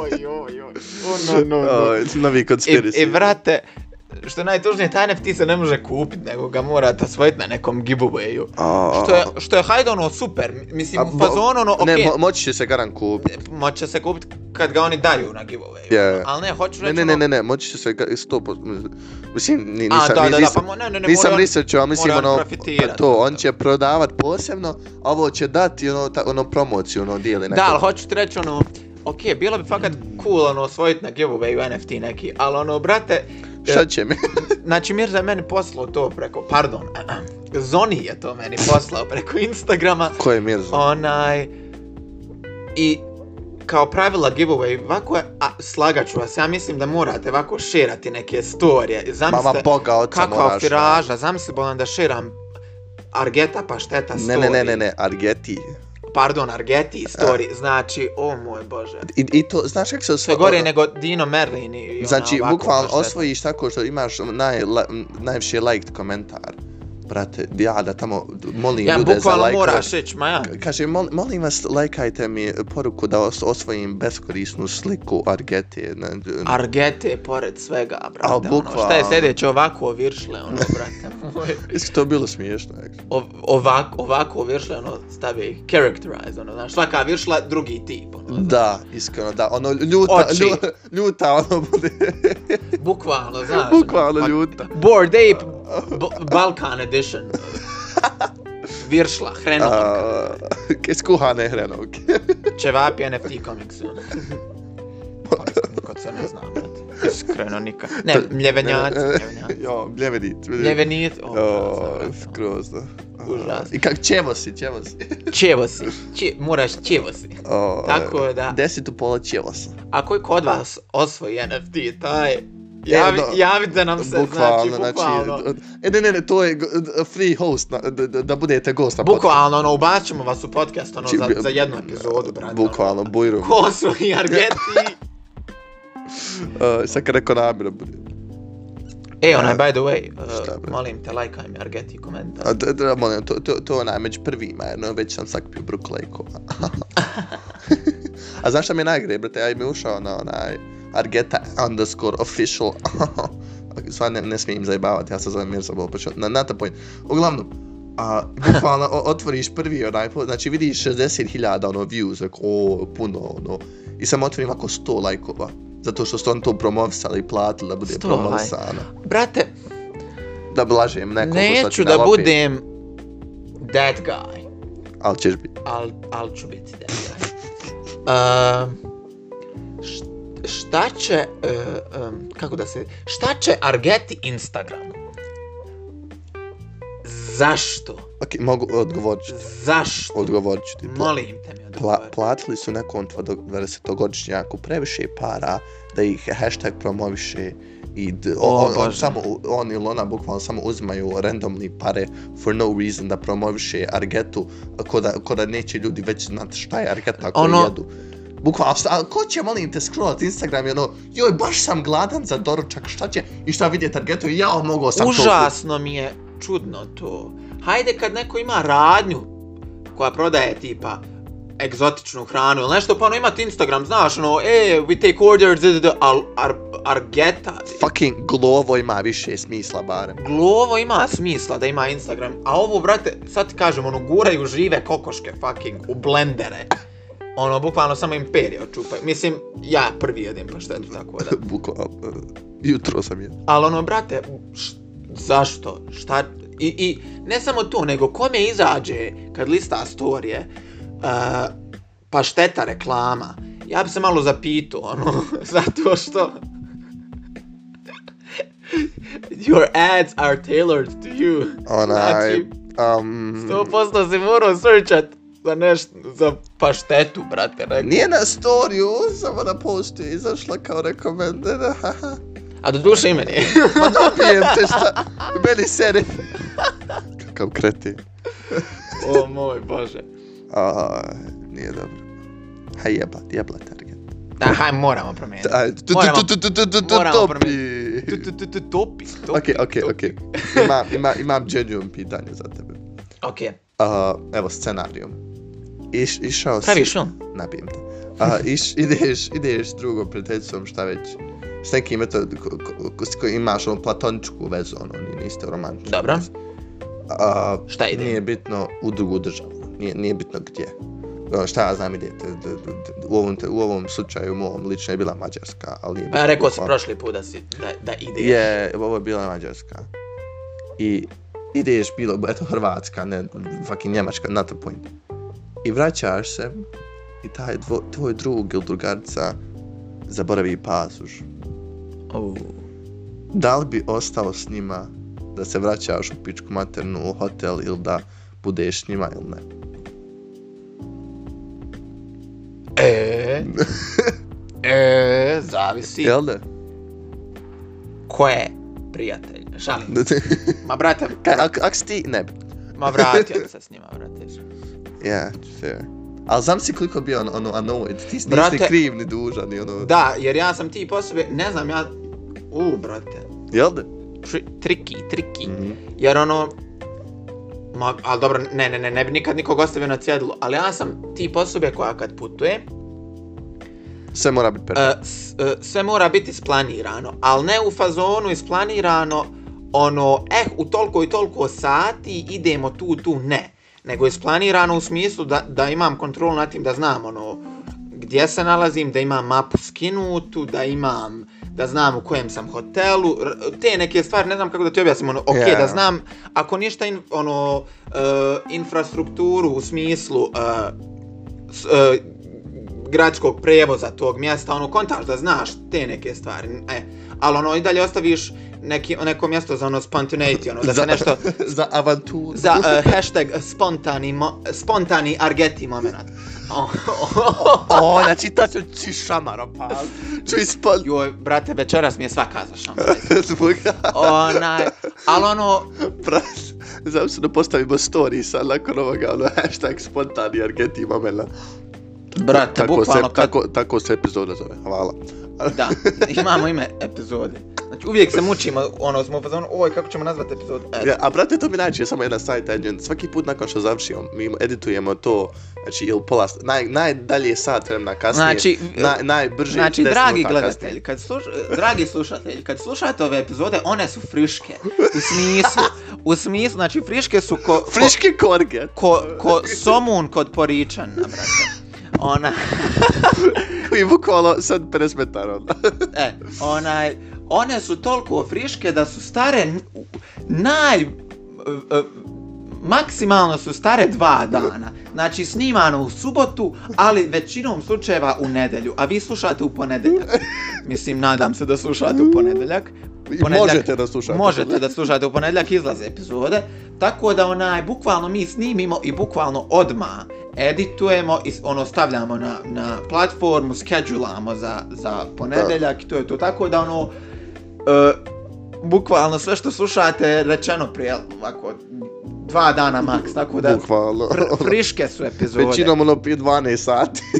[SPEAKER 2] Oj, oj, oj. Oh, no, no,
[SPEAKER 1] Oj, Novi
[SPEAKER 2] I,
[SPEAKER 1] konspiracy.
[SPEAKER 2] I vrate, što je najtužnije, taj NFT se ne može kupit, nego ga morate osvojit na nekom giveawayu.
[SPEAKER 1] A-
[SPEAKER 2] Što je, što je hajde ono super, mi- mislim,
[SPEAKER 1] a-
[SPEAKER 2] u fazonu ono,
[SPEAKER 1] Ne,
[SPEAKER 2] okej,
[SPEAKER 1] mo- moći će se garan kupiti.
[SPEAKER 2] moće se kupit kad ga oni daju na giveawayu.
[SPEAKER 1] Ja, ja.
[SPEAKER 2] Ali ne, hoću
[SPEAKER 1] Ne,
[SPEAKER 2] reći
[SPEAKER 1] ne,
[SPEAKER 2] ono-
[SPEAKER 1] ne, ne, ne, moći će se ga, sto, po- mislim, ni, nisam,
[SPEAKER 2] A, da, da, da,
[SPEAKER 1] nisam,
[SPEAKER 2] pa mo- ne, ne, ne,
[SPEAKER 1] nisam
[SPEAKER 2] moraju-
[SPEAKER 1] researchao, mislim,
[SPEAKER 2] moraju
[SPEAKER 1] ono,
[SPEAKER 2] profitirati.
[SPEAKER 1] to, on će prodavat posebno, a ovo će dati, ono, ta, ono, promociju, ono, dijeli
[SPEAKER 2] Da, ali hoću ti reći ono, ok, bilo bi fakat cool ono osvojiti na giveawayu NFT neki, ali ono, brate,
[SPEAKER 1] Šta će mi?
[SPEAKER 2] znači Mirza je meni poslao to preko, pardon, Zoni je to meni poslao preko Instagrama,
[SPEAKER 1] Ko je Mirza?
[SPEAKER 2] onaj, i kao pravila giveaway, ovako je, a slagaću vas, ja mislim da morate ovako šerati neke storije.
[SPEAKER 1] Mama
[SPEAKER 2] Zamislite,
[SPEAKER 1] Boga, oca
[SPEAKER 2] kakva
[SPEAKER 1] moraš.
[SPEAKER 2] firaža, zamisli bolan da šeram Argeta pašteta story.
[SPEAKER 1] Ne, ne, ne, ne, ne, Argeti.
[SPEAKER 2] Pardon, Argeti story, znači, o moj bože.
[SPEAKER 1] I, i to, znaš kako se
[SPEAKER 2] Sve
[SPEAKER 1] osvoji?
[SPEAKER 2] gore nego Dino Merlin i i ona
[SPEAKER 1] Znači,
[SPEAKER 2] ovako
[SPEAKER 1] bukvalno
[SPEAKER 2] pašteta.
[SPEAKER 1] osvojiš tako što imaš naj, la, m, najviše liked komentar. Brate, ja da tamo molim
[SPEAKER 2] Ja
[SPEAKER 1] ljude za
[SPEAKER 2] bukvalno
[SPEAKER 1] like.
[SPEAKER 2] moraš ići, ma ja.
[SPEAKER 1] Ka- Kaže, mol, molim vas, lajkajte mi poruku da os, osvojim beskorisnu sliku Argete. Na, na,
[SPEAKER 2] Argete je pored svega, brate,
[SPEAKER 1] Al,
[SPEAKER 2] ono, šta je
[SPEAKER 1] bukvalno.
[SPEAKER 2] sljedeće, ovako viršle, ono, brate, moj.
[SPEAKER 1] Mislim, to je bilo smiješno. jak.
[SPEAKER 2] Ov, ovako, ovako viršle, ono, stavi characterize, ono, znaš, svaka viršla drugi tip, ono, znaš.
[SPEAKER 1] Da, iskreno, da, ono, ljuta,
[SPEAKER 2] Oči.
[SPEAKER 1] lju, ljuta, ono, bude,
[SPEAKER 2] bukvalno, znaš.
[SPEAKER 1] bukvalno
[SPEAKER 2] ono,
[SPEAKER 1] ljuta.
[SPEAKER 2] Bored Ape B- Balkan Edition. ono. Viršla, hrenovka,
[SPEAKER 1] A, kaj skuhane hrenovke.
[SPEAKER 2] čevapi NFT comics. ono. Niko to ne zna, brate. Iskreno nikad. Ne, mljevenjaci, mljevenjaci.
[SPEAKER 1] Jo, bljevenit.
[SPEAKER 2] Mljevenit, o,
[SPEAKER 1] Jo,
[SPEAKER 2] brate.
[SPEAKER 1] skroz, da.
[SPEAKER 2] Užasno.
[SPEAKER 1] I kak, ćemo si, ćemo si.
[SPEAKER 2] Čevo si, če, moraš čevo si.
[SPEAKER 1] O,
[SPEAKER 2] Tako da,
[SPEAKER 1] Deset u pola ćemo se.
[SPEAKER 2] ako je
[SPEAKER 1] Pa.
[SPEAKER 2] kod vas osvoji NFT, taj, javi,
[SPEAKER 1] da.
[SPEAKER 2] javite nam se,
[SPEAKER 1] E, Bukvalno,
[SPEAKER 2] znači, bukvalno.
[SPEAKER 1] znači, e, ne, ne, ne, to je go- d- free host, na, da, da- da budete gost na
[SPEAKER 2] Bukvalno, ono, ubacimo vas u podcast, ono,
[SPEAKER 1] Znači,
[SPEAKER 2] za, za jednu epizodu, brate. ono.
[SPEAKER 1] Bukvalno, bujrum.
[SPEAKER 2] Ko su i Argeti?
[SPEAKER 1] Uh, sad kad rekao namjerno bude.
[SPEAKER 2] E, onaj, by the way, uh,
[SPEAKER 1] Šta, bre?
[SPEAKER 2] molim te, lajkaj mi Argeti komentar.
[SPEAKER 1] A, da, da, molim, to, to, to je onaj među prvima, jer no, već sam sakupio Brook Lake-ova. A znaš šta mi je najgore, brate, ja mi je ušao na onaj Argeta underscore official. Sva ne, ne smijem zajebavati, ja se zovem Mirza Bopović, na, na ta point. Uglavnom, a bukvalno o- otvoriš prvi onaj, po- znači vidiš 60.000 ono views, rekao, o, puno ono, i sam otvorim ako 100 lajkova. Zato što su oni to promovisali i platili da bude
[SPEAKER 2] 100
[SPEAKER 1] promovisano.
[SPEAKER 2] Brate,
[SPEAKER 1] Da blažem nekoliko
[SPEAKER 2] neću
[SPEAKER 1] stotina,
[SPEAKER 2] da
[SPEAKER 1] ali opet-
[SPEAKER 2] budem that guy.
[SPEAKER 1] Ali ćeš biti.
[SPEAKER 2] al, al ću biti debilaj. Um, št- šta će, uh, um, kako da se, šta će Argeti Instagram? Zašto?
[SPEAKER 1] Ok, mogu odgovorit ću ti.
[SPEAKER 2] Zašto?
[SPEAKER 1] Odgovorit ću ti. Pla,
[SPEAKER 2] Molim te mi
[SPEAKER 1] pla,
[SPEAKER 2] odgovori.
[SPEAKER 1] platili su nekom 20-godišnjaku previše para da ih hashtag promoviše i d,
[SPEAKER 2] O,
[SPEAKER 1] o, on, on,
[SPEAKER 2] Bože.
[SPEAKER 1] samo, on ili ona bukvalno samo uzimaju randomni pare for no reason da promoviše Argetu ko da, ko da neće ljudi već znati šta je Argeta koju
[SPEAKER 2] Ono-
[SPEAKER 1] ono... jedu. Bukvalno, šta, ali ko će, molim te, scrollat Instagram i ono, joj, baš sam gladan za doručak, šta će, i šta vidjeti Argetu, i jao, mogao sam to kupiti.
[SPEAKER 2] Užasno mi je čudno to. Hajde kad neko ima radnju koja prodaje tipa egzotičnu hranu ili nešto, pa ono imate Instagram, znaš, ono, e, we take orders, d, d, d, al, ar, Argeta.
[SPEAKER 1] Fucking glovo ima više smisla barem.
[SPEAKER 2] Glovo ima smisla da ima Instagram, a ovo, brate, sad ti kažem, ono, guraju žive kokoške fucking u blendere. Ono, bukvalno samo imperije očupaju. Mislim, ja prvi jedem paštetu, tako da.
[SPEAKER 1] Bukvalno, eh, jutro sam je.
[SPEAKER 2] Ali ono, brate, š, zašto? Šta? I, I ne samo to, nego kome izađe kad lista storije uh, pašteta reklama? Ja bi se malo zapitao, ono, zato što... Your ads are tailored to you.
[SPEAKER 1] Onaj,
[SPEAKER 2] Znači,
[SPEAKER 1] um,
[SPEAKER 2] 100% si morao searchat za nešto, za paštetu, brate, rekao.
[SPEAKER 1] nije na storiju, samo na postu je izašla kao rekomendena. haha.
[SPEAKER 2] A do duše i meni.
[SPEAKER 1] Ma dobijem te šta, meni seri. Kakav kreti.
[SPEAKER 2] o moj bože.
[SPEAKER 1] A, nije dobro. Haj jebat, jebat target.
[SPEAKER 2] Aha, moramo promijeniti.
[SPEAKER 1] Aj, tu- tu-
[SPEAKER 2] Moramo-
[SPEAKER 1] tu- tu- tu- tu- tu-
[SPEAKER 2] moramo
[SPEAKER 1] topi.
[SPEAKER 2] Tu, tu, tu, tu, topi, topi.
[SPEAKER 1] Ok, ok,
[SPEAKER 2] topi.
[SPEAKER 1] ok. Imam, imam, imam genuine pitanje za tebe.
[SPEAKER 2] Ok,
[SPEAKER 1] A, evo, scenarijom. Iš, išao si-
[SPEAKER 2] praviš film?
[SPEAKER 1] nabijem te. A, iš, ideš, ideš s drugom prijateljicom, šta već, s nekim, eto, ko, ko, ko, s kojim imaš ono platoničku vezu, ono, ni- niste romantični.
[SPEAKER 2] Dobro.
[SPEAKER 1] A,
[SPEAKER 2] Šta ide?
[SPEAKER 1] Nije bitno u drugu državu, nije, nije bitno gdje. O, šta ja znam idete, d, d, d, u, ovom, te- u ovom slučaju mom lično je bila Mađarska, ali nije
[SPEAKER 2] Pa ja rekao si
[SPEAKER 1] bukvalno-
[SPEAKER 2] prošli put da, si, da, da ide.
[SPEAKER 1] je, ovo je bila Mađarska. I ideš bilo, eto Hrvatska, ne, fucking Njemačka, na to point. I vraćaš se i taj dvo, tvoj drug ili drugarica zaboravi pazuš.
[SPEAKER 2] Oh.
[SPEAKER 1] Da li bi ostao s njima da se vraćaš u pičku maternu u hotel ili da budeš s njima ili ne?
[SPEAKER 2] E, E, e zavisi
[SPEAKER 1] Jel da?
[SPEAKER 2] ko je prijatelj. Šalim.
[SPEAKER 1] da te...
[SPEAKER 2] Ma brate,
[SPEAKER 1] Kaj, ak, ak si ti, ne bi.
[SPEAKER 2] ma vratio bi se s njima, brate.
[SPEAKER 1] Ja, fair. Ali znam si koliko bio on, ono annoyed, ti si nisi
[SPEAKER 2] Brate-
[SPEAKER 1] ni kriv ni dužan i ono...
[SPEAKER 2] Da, jer ja sam tip osobe, ne znam, ja... U, brate,
[SPEAKER 1] Jel da?
[SPEAKER 2] tri, triki, triki.
[SPEAKER 1] Mhm.
[SPEAKER 2] Jer ono... Ma, ali dobro, ne, ne, ne, ne bi nikad nikog ostavio na cjedilu, ali ja sam tip osobe koja kad putuje,
[SPEAKER 1] Sve mora biti perfekt.
[SPEAKER 2] e, s- e, sve mora biti isplanirano, ali ne u fazonu isplanirano, ono, eh, u toliko i toliko sati idemo tu, tu, ne. Nego isplanirano u smislu da, da imam kontrol nad tim, da znam, ono, gdje se nalazim, da imam mapu skinutu, da imam, da znam u kojem sam hotelu, r- te neke stvari, ne znam kako da ti objasnim, ono, ok,
[SPEAKER 1] Ja.
[SPEAKER 2] yeah. da znam, ako ništa, in, ono, e, infrastrukturu u smislu, e, s, e, gradskog prevoza tog mjesta, ono, kontaš da znaš te neke stvari, e, ali ono, i dalje ostaviš neki, neko mjesto za ono spontaneity, ono, da se nešto,
[SPEAKER 1] za avanturu.
[SPEAKER 2] za uh, hashtag spontani, mo, spontani argeti moment. O,
[SPEAKER 1] o, znači tačno či šamara pa. Čuj spal.
[SPEAKER 2] Joj, brate, večeras mi je svaka zašao.
[SPEAKER 1] Zbog
[SPEAKER 2] Onaj, ali ono,
[SPEAKER 1] Brat, znam se da postavimo stories, ali nakon ovoga ono hashtag spontani Argenti mamela.
[SPEAKER 2] brate,
[SPEAKER 1] tako se,
[SPEAKER 2] bukvalno kad,
[SPEAKER 1] tako, tako se epizoda zove, hvala.
[SPEAKER 2] da, imamo ime epizode. Znači, uvijek se mučimo, ono, smo u fazonu, oj, kako ćemo nazvati epizodu? E,
[SPEAKER 1] Ja, a brate, to mi najče samo jedna side tangent. Svaki put nakon što završimo, mi editujemo to, znači ili pola, s- naj, najdalje sat vremena kasnije,
[SPEAKER 2] Znači,
[SPEAKER 1] naj, najbrže
[SPEAKER 2] Znači,
[SPEAKER 1] 10
[SPEAKER 2] dragi
[SPEAKER 1] minuta
[SPEAKER 2] gledatelji, kad sluš, dragi slušatelji, kad slušate ove epizode, one su friške. U smislu, u smislu, znači friške su ko, ko,
[SPEAKER 1] Friške korge.
[SPEAKER 2] ko, ko somun kod poričana, brate. Ona,
[SPEAKER 1] I bukvalo sad 50 metara. ono.
[SPEAKER 2] e, onaj, one su toliko friške da su stare n- u- naj... e, e, maksimalno su stare dva dana. Znači snimano u subotu, ali većinom slučajeva u nedelju. A vi slušate u ponedeljak. Mislim, nadam se da slušate u ponedeljak.
[SPEAKER 1] I
[SPEAKER 2] Ponedjeljak-
[SPEAKER 1] možete da slušate.
[SPEAKER 2] Možete da slušate u ponedjeljak izlaze epizode, tako da onaj bukvalno mi snimimo i bukvalno odma editujemo i s- ono stavljamo na, na platformu, skedulamo za, za ponedjeljak i to je to tako da ono e, bukvalno sve što slušate je rečeno prije ovako dva dana maks, tako da
[SPEAKER 1] Bukvalo.
[SPEAKER 2] fr- friške su epizode.
[SPEAKER 1] Većinom ono prije 12 sati.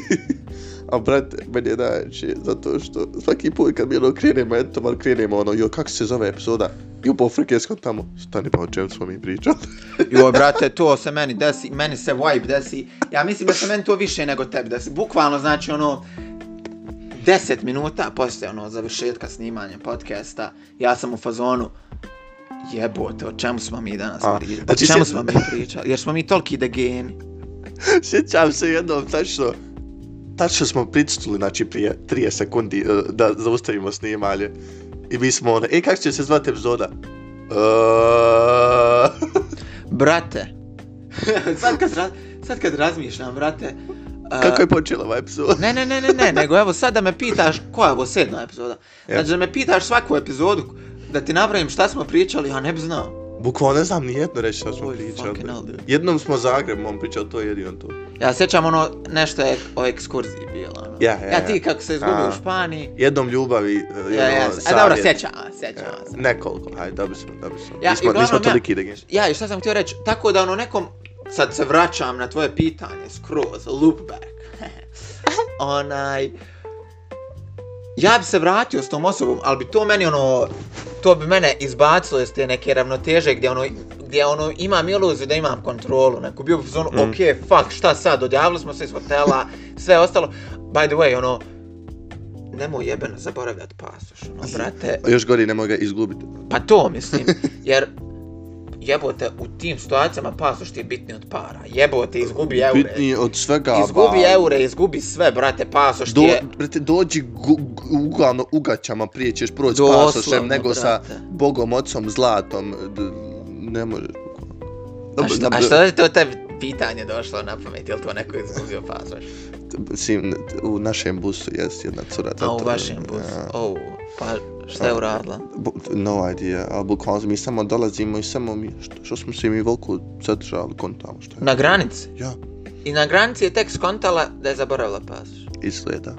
[SPEAKER 1] A brate, meni je najveće, zato što svaki put kad mi ono krenemo, eto malo krenemo ono, jo, kako se zove epizoda? I po frikeskom tamo, stani pa o čemu smo mi pričali?
[SPEAKER 2] Joj, brate, to se meni desi, meni se wipe desi. Ja mislim da se meni to više nego tebi desi. Bukvalno, znači, ono, 10 minuta poslije, ono, završetka snimanja podcasta, ja sam u fazonu, jebote, o čemu smo mi danas
[SPEAKER 1] A,
[SPEAKER 2] pričali? O
[SPEAKER 1] znači,
[SPEAKER 2] čemu
[SPEAKER 1] sje-
[SPEAKER 2] smo mi pričali? Jer smo mi toliki da geni.
[SPEAKER 1] Sjećam se jednom, tačno, tačno smo pričali, znači prije 30 sekundi, e, da zaustavimo snimanje. I mi smo ono, e, kako će se zvati epizoda? Eee...
[SPEAKER 2] Brate, sad, kad ra sad kad razmišljam, brate, a-
[SPEAKER 1] Kako je počela ova epizoda?
[SPEAKER 2] Ne, ne, ne, ne, ne, nego evo sad da me pitaš, koja je ovo sedma epizoda?
[SPEAKER 1] Ja.
[SPEAKER 2] Znači da me pitaš svaku epizodu, da ti napravim šta smo pričali, ja ne bi znao.
[SPEAKER 1] Bukvalno ne znam nijedno reći što smo
[SPEAKER 2] Oj,
[SPEAKER 1] pričali.
[SPEAKER 2] fucking hell, dude.
[SPEAKER 1] Jednom smo Zagreb, mom pričao, to je jedino to.
[SPEAKER 2] Ja sjećam ono, nešto je o ekskurziji bilo. Ono.
[SPEAKER 1] Ja, ja,
[SPEAKER 2] ja. ti
[SPEAKER 1] ja.
[SPEAKER 2] kako se izgubio
[SPEAKER 1] A.
[SPEAKER 2] u Španiji.
[SPEAKER 1] Jednom ljubavi, uh,
[SPEAKER 2] Ja, ja, a dobro, sjećam, sjećam se.
[SPEAKER 1] Nekoliko, hajde, dobri smo, dobri smo.
[SPEAKER 2] Ja,
[SPEAKER 1] Ja,
[SPEAKER 2] i
[SPEAKER 1] nismo,
[SPEAKER 2] uglavnom
[SPEAKER 1] nismo
[SPEAKER 2] ja-
[SPEAKER 1] toliki da games.
[SPEAKER 2] Ja, i šta sam htio reći, tako da ono nekom, sad se vraćam na tvoje pitanje, skroz, loop back. Onaj, ja bi se vratio s tom osobom, ali bi to meni ono, to bi mene izbacilo iz te neke ravnoteže gdje ono, gdje ono imam iluziju da imam kontrolu, neko bio bi ono,
[SPEAKER 1] Mm.
[SPEAKER 2] mm. okej, fuck, šta sad, odjavili smo se iz hotela, sve ostalo, by the way, ono, nemoj jebeno zaboravljati pasoš, ono, brate,
[SPEAKER 1] Još gori ne mogu ga izgubiti.
[SPEAKER 2] Pa to mislim, jer jebote u tim situacijama pasoš ti je bitni od para. Jebote, izgubi eure.
[SPEAKER 1] Bitniji od svega,
[SPEAKER 2] Izgubi
[SPEAKER 1] ba.
[SPEAKER 2] eure, izgubi sve, brate, pasoš
[SPEAKER 1] Do,
[SPEAKER 2] ti je...
[SPEAKER 1] brate, dođi gu, gu- uglavnom ugaćama prije ćeš proći
[SPEAKER 2] Doslovno,
[SPEAKER 1] pasošem nego sa
[SPEAKER 2] brate.
[SPEAKER 1] bogom, ocom, zlatom. d- Ne možeš.
[SPEAKER 2] A šta, a šta da je to tebi pitanje došlo na pamet, je li to neko izgubio pasoš?
[SPEAKER 1] Mislim, u našem busu jest jedna cura.
[SPEAKER 2] A u
[SPEAKER 1] zato-
[SPEAKER 2] vašem busu,
[SPEAKER 1] Ja.
[SPEAKER 2] ou, pa šta je uradila?
[SPEAKER 1] Bu- No idea, ali bukvalno mi samo dolazimo i samo mi, što, što smo se mi volku zadržali kontamo, što je?
[SPEAKER 2] Na granici.
[SPEAKER 1] Ja,
[SPEAKER 2] I na granici je tek skontala da je zaboravila pasoš.
[SPEAKER 1] izgleda.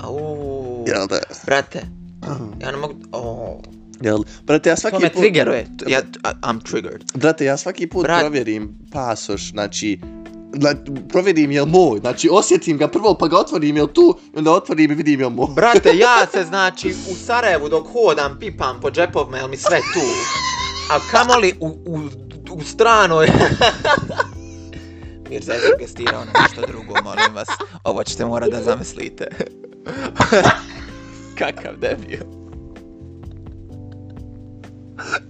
[SPEAKER 2] Au,
[SPEAKER 1] Jel da?
[SPEAKER 2] brate, ja ne mogu... Oh.
[SPEAKER 1] Jel, brate, ja svaki
[SPEAKER 2] To me
[SPEAKER 1] put...
[SPEAKER 2] triggeruje. Ja, I- I'm triggered.
[SPEAKER 1] Brate, ja svaki put
[SPEAKER 2] Brat-
[SPEAKER 1] provjerim pasoš, znači, na, provjerim jel moj, znači osjetim ga prvo pa ga otvorim jel tu i onda otvorim i vidim jel moj.
[SPEAKER 2] Brate, ja se znači u Sarajevu dok hodam pipam po džepovima, jel mi sve tu. A kamoli u, u, u stranoj... Mirza je sugestirao na ono, nešto drugo, molim vas. Ovo ćete morat da zamislite. Kakav debil.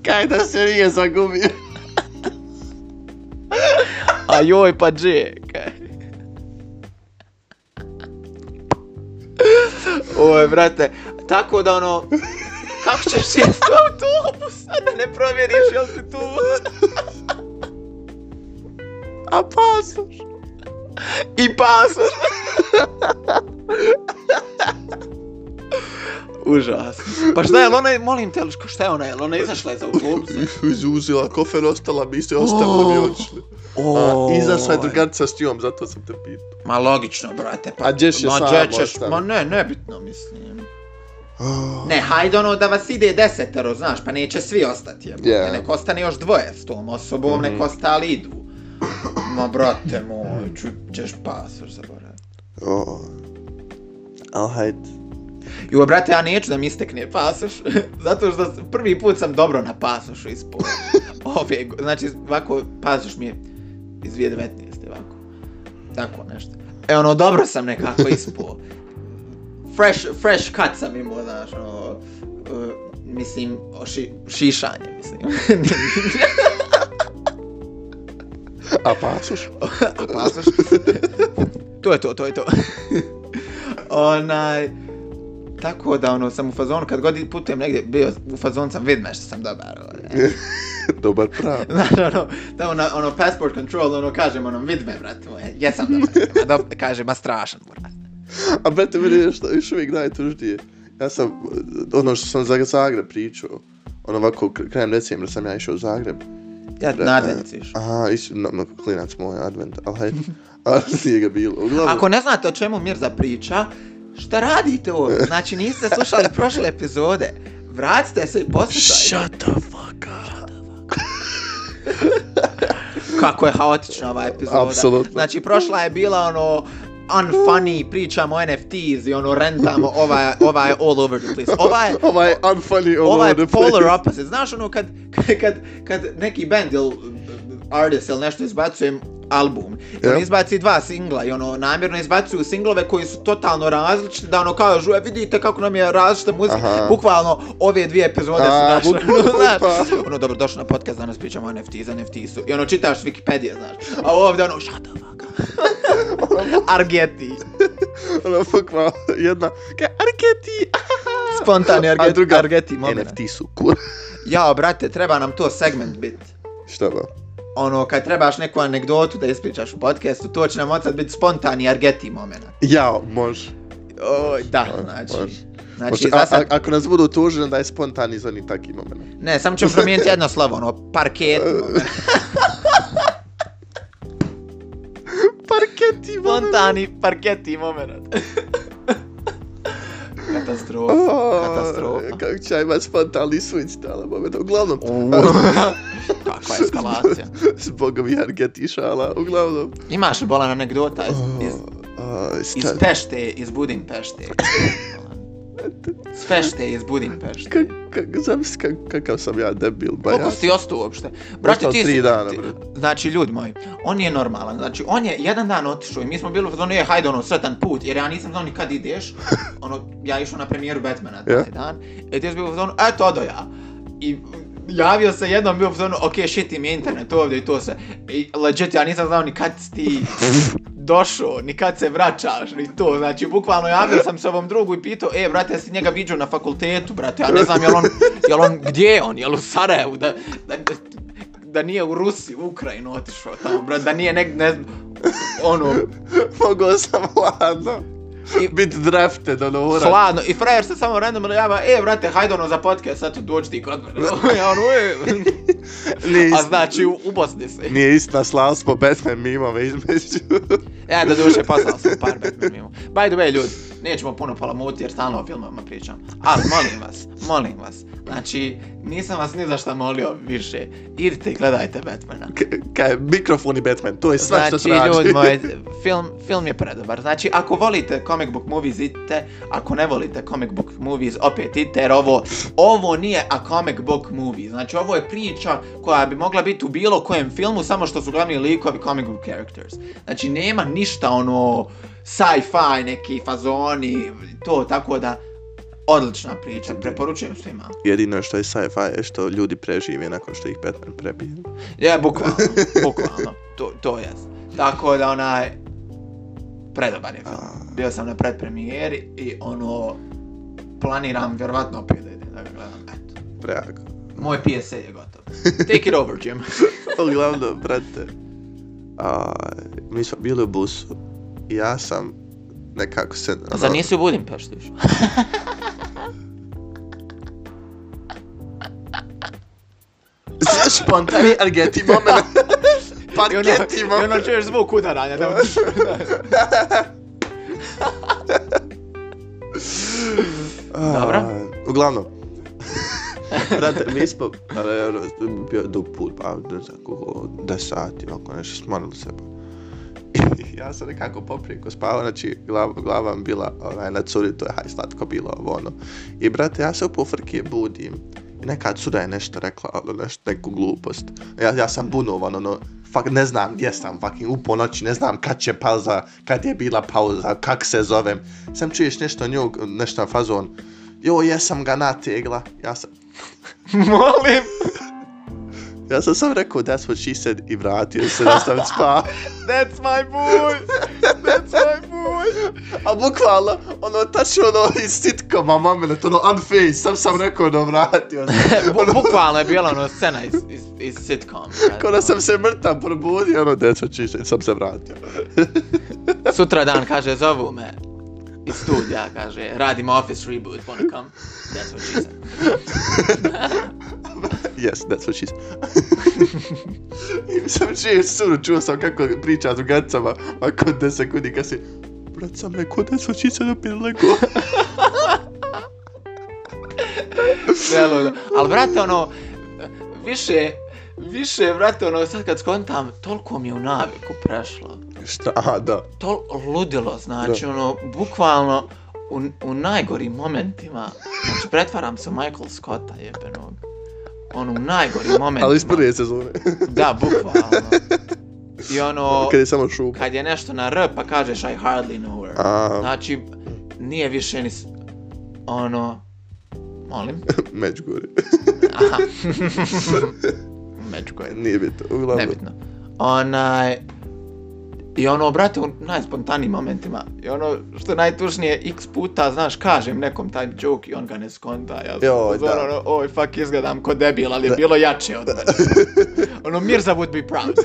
[SPEAKER 1] Kaj da se nije zagubio.
[SPEAKER 2] A joj pa dže, kaj. Oj, brate, tako da ono, kako ćeš sjest u autobus, a da ne provjeriš jel ti tu?
[SPEAKER 1] A pasoš?
[SPEAKER 2] I pasoš. Užas. Pa šta je, ona, je- molim te, ali ško- šta je ona, je ona je izašla iz autobusa?
[SPEAKER 1] Izuzila kofer, ostala mi se, ostala mi očili. A, izašla je drugarica s njom, zato sam te pitao.
[SPEAKER 2] Ma logično, brate, pa
[SPEAKER 1] A gdješ je
[SPEAKER 2] ma,
[SPEAKER 1] sam
[SPEAKER 2] gdje ćeš,
[SPEAKER 1] ostala?
[SPEAKER 2] ma ne, nebitno mislim.
[SPEAKER 1] Oh.
[SPEAKER 2] Ne, hajde ono da vas ide desetero, znaš, pa neće svi ostati, jebote.
[SPEAKER 1] Yeah.
[SPEAKER 2] Yeah. Nek ostane još dvoje s tom osobom, mm -hmm.
[SPEAKER 1] Mhm.
[SPEAKER 2] nek ostali idu. Ma, brate moj, ču, ćeš pasoš zaboraviti.
[SPEAKER 1] Oh. Al hajde.
[SPEAKER 2] Jo, brate, ja neću da mi istekne pasoš, zato što s- prvi put sam dobro na pasošu ispao. Ove, go- znači, ovako, pasoš mi je iz 2019. ovako. Tako nešto. E, ono, dobro sam nekako ispao. Fresh, fresh cut sam imao, znaš, ono, uh, mislim, o ši, šišanje, mislim.
[SPEAKER 1] A pasoš?
[SPEAKER 2] A pasoš? to je to, to je to. Onaj... Tako da ono sam u fazonu kad god putujem negdje bio u fazonu sam vidme što sam dobar. ono.
[SPEAKER 1] Dobar prav.
[SPEAKER 2] Znaš ono, da ono, ono passport control ono kažem ono vidme brate moje, jesam dobar. ono, Da, kaže ma strašan brate.
[SPEAKER 1] A brate, meni je što još uvijek najtužnije. Ja sam, ono što sam za Zagreb pričao, ono ovako, kr- krajem decembra sam ja išao u Zagreb.
[SPEAKER 2] Ja
[SPEAKER 1] Brate,
[SPEAKER 2] nadvenciš.
[SPEAKER 1] Aha, išao, no, no, klinac moj, advent, ali hajde. A nije ga bilo, uglavnom.
[SPEAKER 2] Ako ne znate o čemu Mirza priča, šta radite ovdje? Znači niste slušali prošle epizode. Vratite se i poslušajte.
[SPEAKER 1] Shut the fuck up.
[SPEAKER 2] Kako je haotična ova epizoda.
[SPEAKER 1] Apsolutno.
[SPEAKER 2] Znači, prošla je bila ono unfunny, pričamo o NFTs i ono rentamo, ova je, ova je all over the place. Ova je,
[SPEAKER 1] Ovaj unfunny all
[SPEAKER 2] ova
[SPEAKER 1] over
[SPEAKER 2] je
[SPEAKER 1] the
[SPEAKER 2] polar
[SPEAKER 1] place.
[SPEAKER 2] opposite. Znaš ono kad, kad, kad, kad neki band ili artist ili nešto izbacujem album. I
[SPEAKER 1] Yep.
[SPEAKER 2] on izbaci dva singla i ono namjerno izbacuju singlove koji su totalno različiti da ono kažu e vidite kako nam je različita muzika.
[SPEAKER 1] Aha.
[SPEAKER 2] Bukvalno ove dvije epizode su
[SPEAKER 1] A,
[SPEAKER 2] naše.
[SPEAKER 1] bukvalno,
[SPEAKER 2] znaš,
[SPEAKER 1] pa.
[SPEAKER 2] ono dobro došli na podcast danas pričamo o NFT za NFT su i ono čitaš Wikipedia znaš. A ovdje ono shut the fuck up. Argeti.
[SPEAKER 1] Ono, bukva, jedna, kaj, Arketi, aha.
[SPEAKER 2] Spontani
[SPEAKER 1] A
[SPEAKER 2] Argeti.
[SPEAKER 1] druga,
[SPEAKER 2] Argeti moment.
[SPEAKER 1] NFT su, kur.
[SPEAKER 2] Ja brate treba nam to segment bit.
[SPEAKER 1] Šta ba?
[SPEAKER 2] ono, kad trebaš neku anegdotu da ispričaš u podcastu, to će nam od sad biti spontani argeti moment.
[SPEAKER 1] Jao, može.
[SPEAKER 2] O, da,
[SPEAKER 1] Može,
[SPEAKER 2] znači.
[SPEAKER 1] može.
[SPEAKER 2] Znači,
[SPEAKER 1] Može, a,
[SPEAKER 2] za
[SPEAKER 1] a,
[SPEAKER 2] sad,
[SPEAKER 1] ako nas budu tužili, daj spontani za ni taki moment.
[SPEAKER 2] ne, samo ćemo promijeniti jedno slovo, ono, parket moment.
[SPEAKER 1] Pa Parketi,
[SPEAKER 2] Spontani parketi moment. Katastrofa, katastrofa.
[SPEAKER 1] Oh, Kako će ja imat spontalni suicidala moment. Uglavnom,
[SPEAKER 2] U, Kakva eskalacija.
[SPEAKER 1] zbog mi Argeti šala, uglavnom.
[SPEAKER 2] Imaš bolan anegdota iz, iz,
[SPEAKER 1] A,
[SPEAKER 2] iz
[SPEAKER 1] Šta?
[SPEAKER 2] Pešte, iz Budimpešte. Iz Pešte, iz Budimpešte.
[SPEAKER 1] Kak, kak, zamisli kak, kakav sam ja debil, ba Pa ja.
[SPEAKER 2] Koliko si ostao uopšte? Brate,
[SPEAKER 1] Ostao
[SPEAKER 2] ti
[SPEAKER 1] tri
[SPEAKER 2] si...
[SPEAKER 1] dana,
[SPEAKER 2] ti-
[SPEAKER 1] brate.
[SPEAKER 2] Znači, ljudi moji, on je normalan. Znači, on je jedan dan otišao i mi smo bili u fazonu, je, hajde, ono, sretan put, jer ja nisam znao ni kad ideš. ono, ja išao na premijeru Batmana taj
[SPEAKER 1] Ja.
[SPEAKER 2] dan. E, ti je bio u fazonu, eto, odo ja. I javio se jednom, bio u fazonu, okej, shit, im je internet ovdje i to se. I, legit, ja nisam znao ni kad si ti došao, ni kad se vraćaš, ni to. Znači, bukvalno javio sam se ovom drugu i pitao, e, brate, jesi njega viđao na fakultetu, brate, ja ne znam, jel on, jel on, gdje je on, jel u Sarajevu, da, da, da, da nije u Rusiju, u Ukrajinu otišao tamo, brate, da nije nek, ne, ono,
[SPEAKER 1] Mogao sam hladno.
[SPEAKER 2] I-
[SPEAKER 1] Bit drafted, ono, ura.
[SPEAKER 2] hladno, i frajer se samo randomno java, e, brate, hajde ono za podcast, sad tu dođi ti kod mene, ja ono, e,
[SPEAKER 1] Nije
[SPEAKER 2] A
[SPEAKER 1] ist-
[SPEAKER 2] znači u, u Bosni se.
[SPEAKER 1] Nije istina, slao smo Batman mimove između.
[SPEAKER 2] Ja E, da duše poslao sam par Batman mimo. By the way ljudi, nećemo puno palamuti jer stalno o filmama pričam. Ali molim vas, molim vas. Znači, nisam vas ni za šta molio više. Idite i gledajte Batmana.
[SPEAKER 1] K- Kaj, mikrofon i Batman, to je sve što Ovaj, se
[SPEAKER 2] Znači,
[SPEAKER 1] radi.
[SPEAKER 2] ljudi moji, film, film je predobar. Znači, ako volite comic book movies, idite. Ako ne volite comic book movies, opet idite, jer ovo, ovo nije a comic book movie. Znači, ovo je priča koja bi mogla biti u bilo kojem filmu, samo što su glavni likovi comic book characters. Znači, nema ništa ono sci-fi, neki fazoni, to, tako da, odlična priča, preporučujem svima.
[SPEAKER 1] Jedino što je sci-fi je što ljudi prežive nakon što ih Batman prebije.
[SPEAKER 2] Je, bukvalno, bukvalno, to, to je. Tako da onaj, predobar je film. Bio sam na predpremijeri i ono, planiram vjerovatno opet da idem da ga gledam, eto.
[SPEAKER 1] Prejako.
[SPEAKER 2] Moj PSA je gotov. Take it over, Jim.
[SPEAKER 1] Uglavnom, brate, a, mi smo bili u busu, ja sam nekako se... ono-
[SPEAKER 2] Zar nisi u Budimpešti još?
[SPEAKER 1] Spontani Argeti moment.
[SPEAKER 2] I ono,
[SPEAKER 1] Parketi
[SPEAKER 2] i ono
[SPEAKER 1] moment.
[SPEAKER 2] čuješ zvuk udaranja, da Dobro.
[SPEAKER 1] A, Uglavnom. Brate, mi smo, ali, ono, bio je dug put, pa ne znam koliko, 10 sati, ovako nešto, smorili se. pa. I ja sam nekako poprijeko spavao, znači glava, glava mi bila onaj, na curi, to je haj slatko bilo ovo ono. I brate, ja se u pofrke budim. I neka cura je nešto rekla, ono, nešto, neku glupost. Ja, ja sam bunovan, ono, fak, ne znam gdje sam, fucking u ponoći, ne znam kad će pauza, kad je bila pauza, kak se zovem. Sam čuješ nešto njog, nešto na fazon, jo, jesam ga nategla, ja sam,
[SPEAKER 2] Molim.
[SPEAKER 1] ja sam sam rekao that's what she said i vratio se nastavit spa.
[SPEAKER 2] That's my boy. That's my boy.
[SPEAKER 1] A bukvalno, ono, tačno ono iz sitkoma moment, ono, unface, sam sam rekao, ono, vratio se.
[SPEAKER 2] Bu- Bukvalno je bila ono scena iz, iz, iz sitcom.
[SPEAKER 1] Kao da sam se mrtav probudio, ono, that's what she said, sam se vratio.
[SPEAKER 2] Sutra dan, kaže, zovu me iz studija, kaže, radimo office reboot, wanna come? That's what she said.
[SPEAKER 1] Yes, that's what she said. I sam čije suru, čuo sam kako priča s drugaricama, a kod 10 sekundi kasnije, brat sam rekao, that's what she said, opet lego.
[SPEAKER 2] Sve ludo. Ali, brate, ono, više, više, brate, ono, sad kad skontam, toliko mi je u naviku prešlo.
[SPEAKER 1] Šta, aha, da.
[SPEAKER 2] To ludilo, znači, ono, bukvalno, u, u najgorim momentima, znači, pretvaram se u Michael Scotta, jebenog. Ono, u najgorim momentima.
[SPEAKER 1] Ali iz prve sezone,
[SPEAKER 2] Da, bukvalno. I ono,
[SPEAKER 1] kada je samo šup.
[SPEAKER 2] kad je nešto na R, pa kažeš I hardly know her.
[SPEAKER 1] A,
[SPEAKER 2] Znači, nije više ni... s- Ono... Molim?
[SPEAKER 1] Međugorje.
[SPEAKER 2] Aha. Međugorje.
[SPEAKER 1] Nije bitno, uglavnom.
[SPEAKER 2] Nebitno. Onaj... I ono, brate, u najspontanijim momentima. I ono, što je najtužnije, x puta, znaš, kažem nekom taj joke i on ga ne skonta. Ja sam
[SPEAKER 1] Joj,
[SPEAKER 2] pozor,
[SPEAKER 1] da.
[SPEAKER 2] ono, oj, fuck, izgledam ko debil, ali je bilo jače od mene. ono, Mirza would be proud.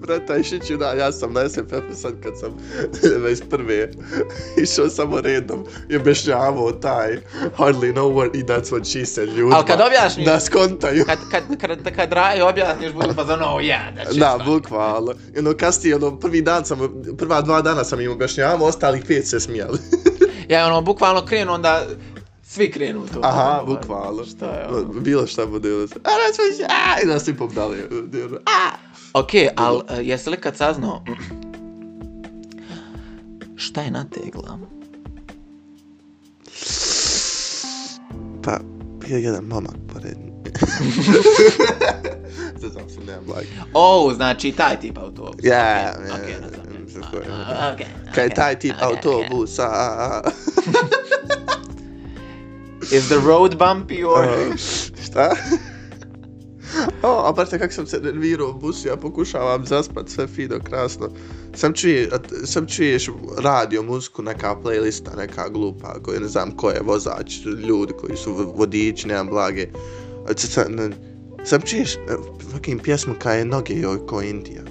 [SPEAKER 1] Brata, išiću da, ja sam na SFF-u sad kad sam 21. išao samo redom i objašnjavao taj hardly nowhere i that's what she said ljudima.
[SPEAKER 2] Al kad objašniš-
[SPEAKER 1] Da skontaju.
[SPEAKER 2] Kad, kad, kad, kad Raju objasniš, budu pa za ono, oh, yeah, that shit's
[SPEAKER 1] Da,
[SPEAKER 2] fine."
[SPEAKER 1] bukvalno. I ono, kasnije, ono, prvi dan sam, prva dva dana sam im objašnjavao, ostalih pet se smijali.
[SPEAKER 2] Ja ono, bukvalno krenu, onda svi krenu u to.
[SPEAKER 1] Aha,
[SPEAKER 2] Ono,
[SPEAKER 1] bukvalno.
[SPEAKER 2] Šta je
[SPEAKER 1] Ono,
[SPEAKER 2] ono?
[SPEAKER 1] Bilo šta bude, ono, a, that's what she, a, i da svi ono, popdali.
[SPEAKER 2] Okej, okay, ali uh, jesi li kad saznao... Šta je nategla?
[SPEAKER 1] Pa, bio jedan momak pored nje. Znam se, nemam like.
[SPEAKER 2] O, oh, znači taj tip autobus.
[SPEAKER 1] Ja,
[SPEAKER 2] Okej,
[SPEAKER 1] ja,
[SPEAKER 2] okej,
[SPEAKER 1] ja,
[SPEAKER 2] razumijem.
[SPEAKER 1] mislim,
[SPEAKER 2] A,
[SPEAKER 1] ko je.
[SPEAKER 2] a, okej,
[SPEAKER 1] Kaj
[SPEAKER 2] okej,
[SPEAKER 1] taj tip
[SPEAKER 2] okej, okej.
[SPEAKER 1] autobusa. a, a.
[SPEAKER 2] Is the road bumpy or...
[SPEAKER 1] Uh, Šta? O, a brate, kak sam se nervirao u busu, ja pokušavam zaspat sve fino, krasno. Sam, čuje, a t- sam čuješ radio, muziku, neka playlista, neka glupa, koja ne znam ko je vozač, ljudi koji su v- vodiči, nemam blage. A c- c- n- Sam čuješ e, fucking pjesmu kaj je noge joj ko Indija.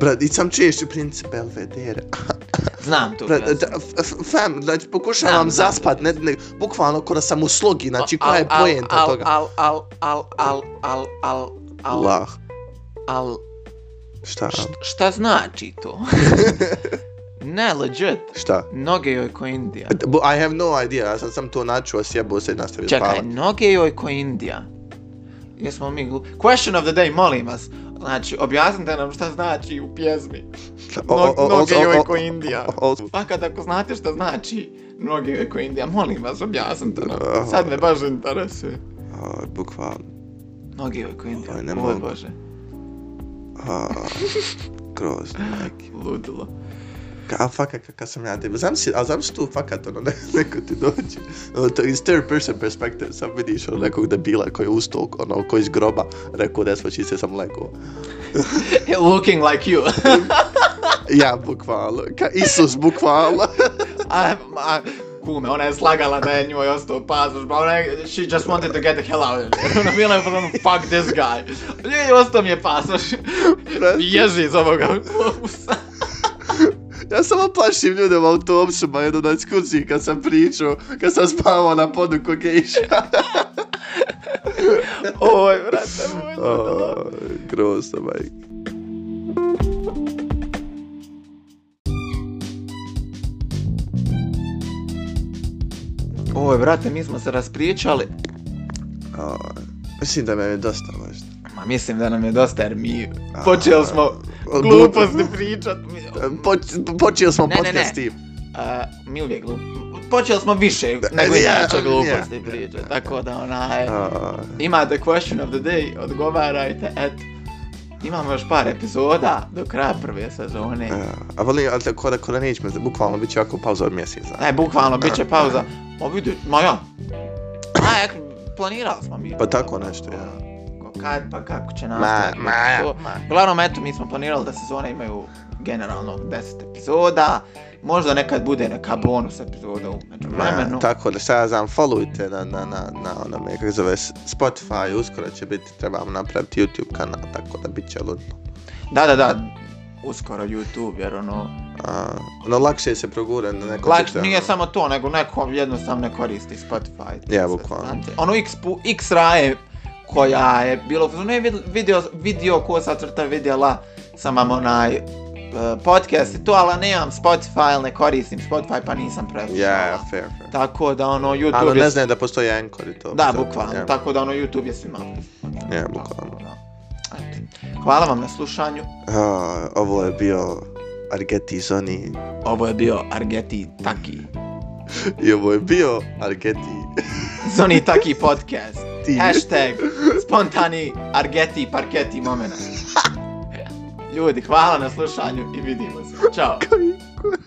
[SPEAKER 1] Brat, i sam čuješ Prince Belvedere.
[SPEAKER 2] Znam tu
[SPEAKER 1] Pra-
[SPEAKER 2] fraznu.
[SPEAKER 1] da, f- f- Fam, znači pokušavam
[SPEAKER 2] Znam, znam.
[SPEAKER 1] zaspat, ne, ne, bukvalno ko da sam u slogi, znači koja je
[SPEAKER 2] Al, al,
[SPEAKER 1] pojenta
[SPEAKER 2] al,
[SPEAKER 1] toga?
[SPEAKER 2] Al, al, al, al, al, al, al, al,
[SPEAKER 1] Allah,
[SPEAKER 2] al,
[SPEAKER 1] šta?
[SPEAKER 2] št- šta znači to? ne, legit.
[SPEAKER 1] Šta?
[SPEAKER 2] Noge joj ko Indija.
[SPEAKER 1] Bo- I have no idea, ja sam sam to načuo, sjebao se i nastavio
[SPEAKER 2] Čekaj,
[SPEAKER 1] spavat.
[SPEAKER 2] noge joj ko Indija. Jesmo mi glu... Question of the day, molim vas. Znači, objasnite nam šta znači u pjesmi.
[SPEAKER 1] O- o- o-
[SPEAKER 2] Noge
[SPEAKER 1] o- o-
[SPEAKER 2] joj
[SPEAKER 1] o-
[SPEAKER 2] ko Indija.
[SPEAKER 1] o- o-
[SPEAKER 2] Pa kad ako znate šta znači noge joj ko Indija, molim vas, objasnite nam.
[SPEAKER 1] Aha.
[SPEAKER 2] Sad me baš interesuje.
[SPEAKER 1] Aj, Bukvalno,
[SPEAKER 2] Noge joj ko Indija,
[SPEAKER 1] Aj, ne
[SPEAKER 2] moj
[SPEAKER 1] mogu.
[SPEAKER 2] bože,
[SPEAKER 1] a, grozno, majke.
[SPEAKER 2] ludilo.
[SPEAKER 1] Ka- A fakat kakav sam ja tebe, znam si, a znam si tu fakat ono, ne, neko ti dođe, ono, to iz third person perspective, sam vidiš ono nekog debila koji je ustao, ono, koji iz groba, rekao desmo čiste sam legao.
[SPEAKER 2] Looking like you.
[SPEAKER 1] Ja, bukvalno, ka Isus, bukvalno.
[SPEAKER 2] a, a, kume, ona je slagala da je njoj ostao pasoš, ba ona je, she just wanted to get the hell out of there. Ona bila je ono, fuck this guy. Ljudi, ostao mi je pasoš.
[SPEAKER 1] Brate.
[SPEAKER 2] Ježi iz ovoga autobusa.
[SPEAKER 1] Ja samo plašim ljude u autobusima jedno na ekskurziji kad sam pričao, kad sam spavao na podu ko gejša.
[SPEAKER 2] Oj, brate, moj. ludilo.
[SPEAKER 1] O, Grozno, majke.
[SPEAKER 2] Oj, brate, mi smo se raspričali.
[SPEAKER 1] O, Mislim da me je dosta možda.
[SPEAKER 2] Ma mislim da nam je dosta jer mi
[SPEAKER 1] A,
[SPEAKER 2] počeli smo
[SPEAKER 1] o,
[SPEAKER 2] gluposti pričat. Mi,
[SPEAKER 1] Poč- počeli smo
[SPEAKER 2] Ne, ne, ne.
[SPEAKER 1] podcast s tim.
[SPEAKER 2] a, mi uvijek glup... Počeli smo više nego
[SPEAKER 1] ne,
[SPEAKER 2] inače
[SPEAKER 1] ne,
[SPEAKER 2] gluposti
[SPEAKER 1] ne,
[SPEAKER 2] pričat,
[SPEAKER 1] ne.
[SPEAKER 2] tako da onaj...
[SPEAKER 1] A,
[SPEAKER 2] Imate question of the day, odgovarajte, et. Imamo još par epizoda do kraja prve sezone.
[SPEAKER 1] a, e, A volim, ali tako da kada nećemo, bukvalno bit će ovako pauza od mjeseca.
[SPEAKER 2] Ne, bukvalno, bit će pauza. Ma vidi, ma ja. Ma ja, planirali smo mi.
[SPEAKER 1] Pa tako nešto, ja.
[SPEAKER 2] Ko- Kad pa kako će
[SPEAKER 1] Ma,
[SPEAKER 2] nastaviti.
[SPEAKER 1] ma, ja,
[SPEAKER 2] to.
[SPEAKER 1] ma.
[SPEAKER 2] Uglavnom, eto, mi smo planirali da sezone imaju generalno 10 epizoda. Možda nekad bude neka bonus epizoda u međuvremenu.
[SPEAKER 1] Ma, tako da šta ja znam, followujte na, na, na, na onome, kako se zove, Spotify, uskoro će biti, trebamo napraviti YouTube kanal, tako da bit će ludno.
[SPEAKER 2] Da, da, da. Uskoro YouTube, jer ono...
[SPEAKER 1] A, ono, lakše no, se progura na nekom
[SPEAKER 2] Lak,
[SPEAKER 1] Twitter,
[SPEAKER 2] nije
[SPEAKER 1] ono.
[SPEAKER 2] samo to, nego neko jednostavno ne koristi Spotify. to
[SPEAKER 1] Ja,
[SPEAKER 2] sve,
[SPEAKER 1] bukvalno.
[SPEAKER 2] znate. Ono x, pu, x raje koja je bilo, ne video, video ko sa crta vidjela, sam vam onaj e, podcast i to, ali nemam Spotify, ali ne koristim Spotify, pa nisam previšala.
[SPEAKER 1] Ja, fair, fair.
[SPEAKER 2] Tako da ono YouTube
[SPEAKER 1] Ali
[SPEAKER 2] je...
[SPEAKER 1] ne znaju da postoji Anchor i to.
[SPEAKER 2] Da,
[SPEAKER 1] zato,
[SPEAKER 2] bukvalno,
[SPEAKER 1] ja.
[SPEAKER 2] tako da ono YouTube je svima.
[SPEAKER 1] Ja, bukvalno.
[SPEAKER 2] Tako, da. Eto. Hvala vam na slušanju.
[SPEAKER 1] A, Ah, ovo je bio Argeti Zoni
[SPEAKER 2] Ovo je bio Argeti Taki.
[SPEAKER 1] i ovo je bio Argeti
[SPEAKER 2] Zoni Taki podcast.
[SPEAKER 1] Ti.
[SPEAKER 2] Hashtag spontani Argeti Parketi moment. Ljudi, hvala na slušanju i vidimo se. Ćao.
[SPEAKER 1] koji kurac.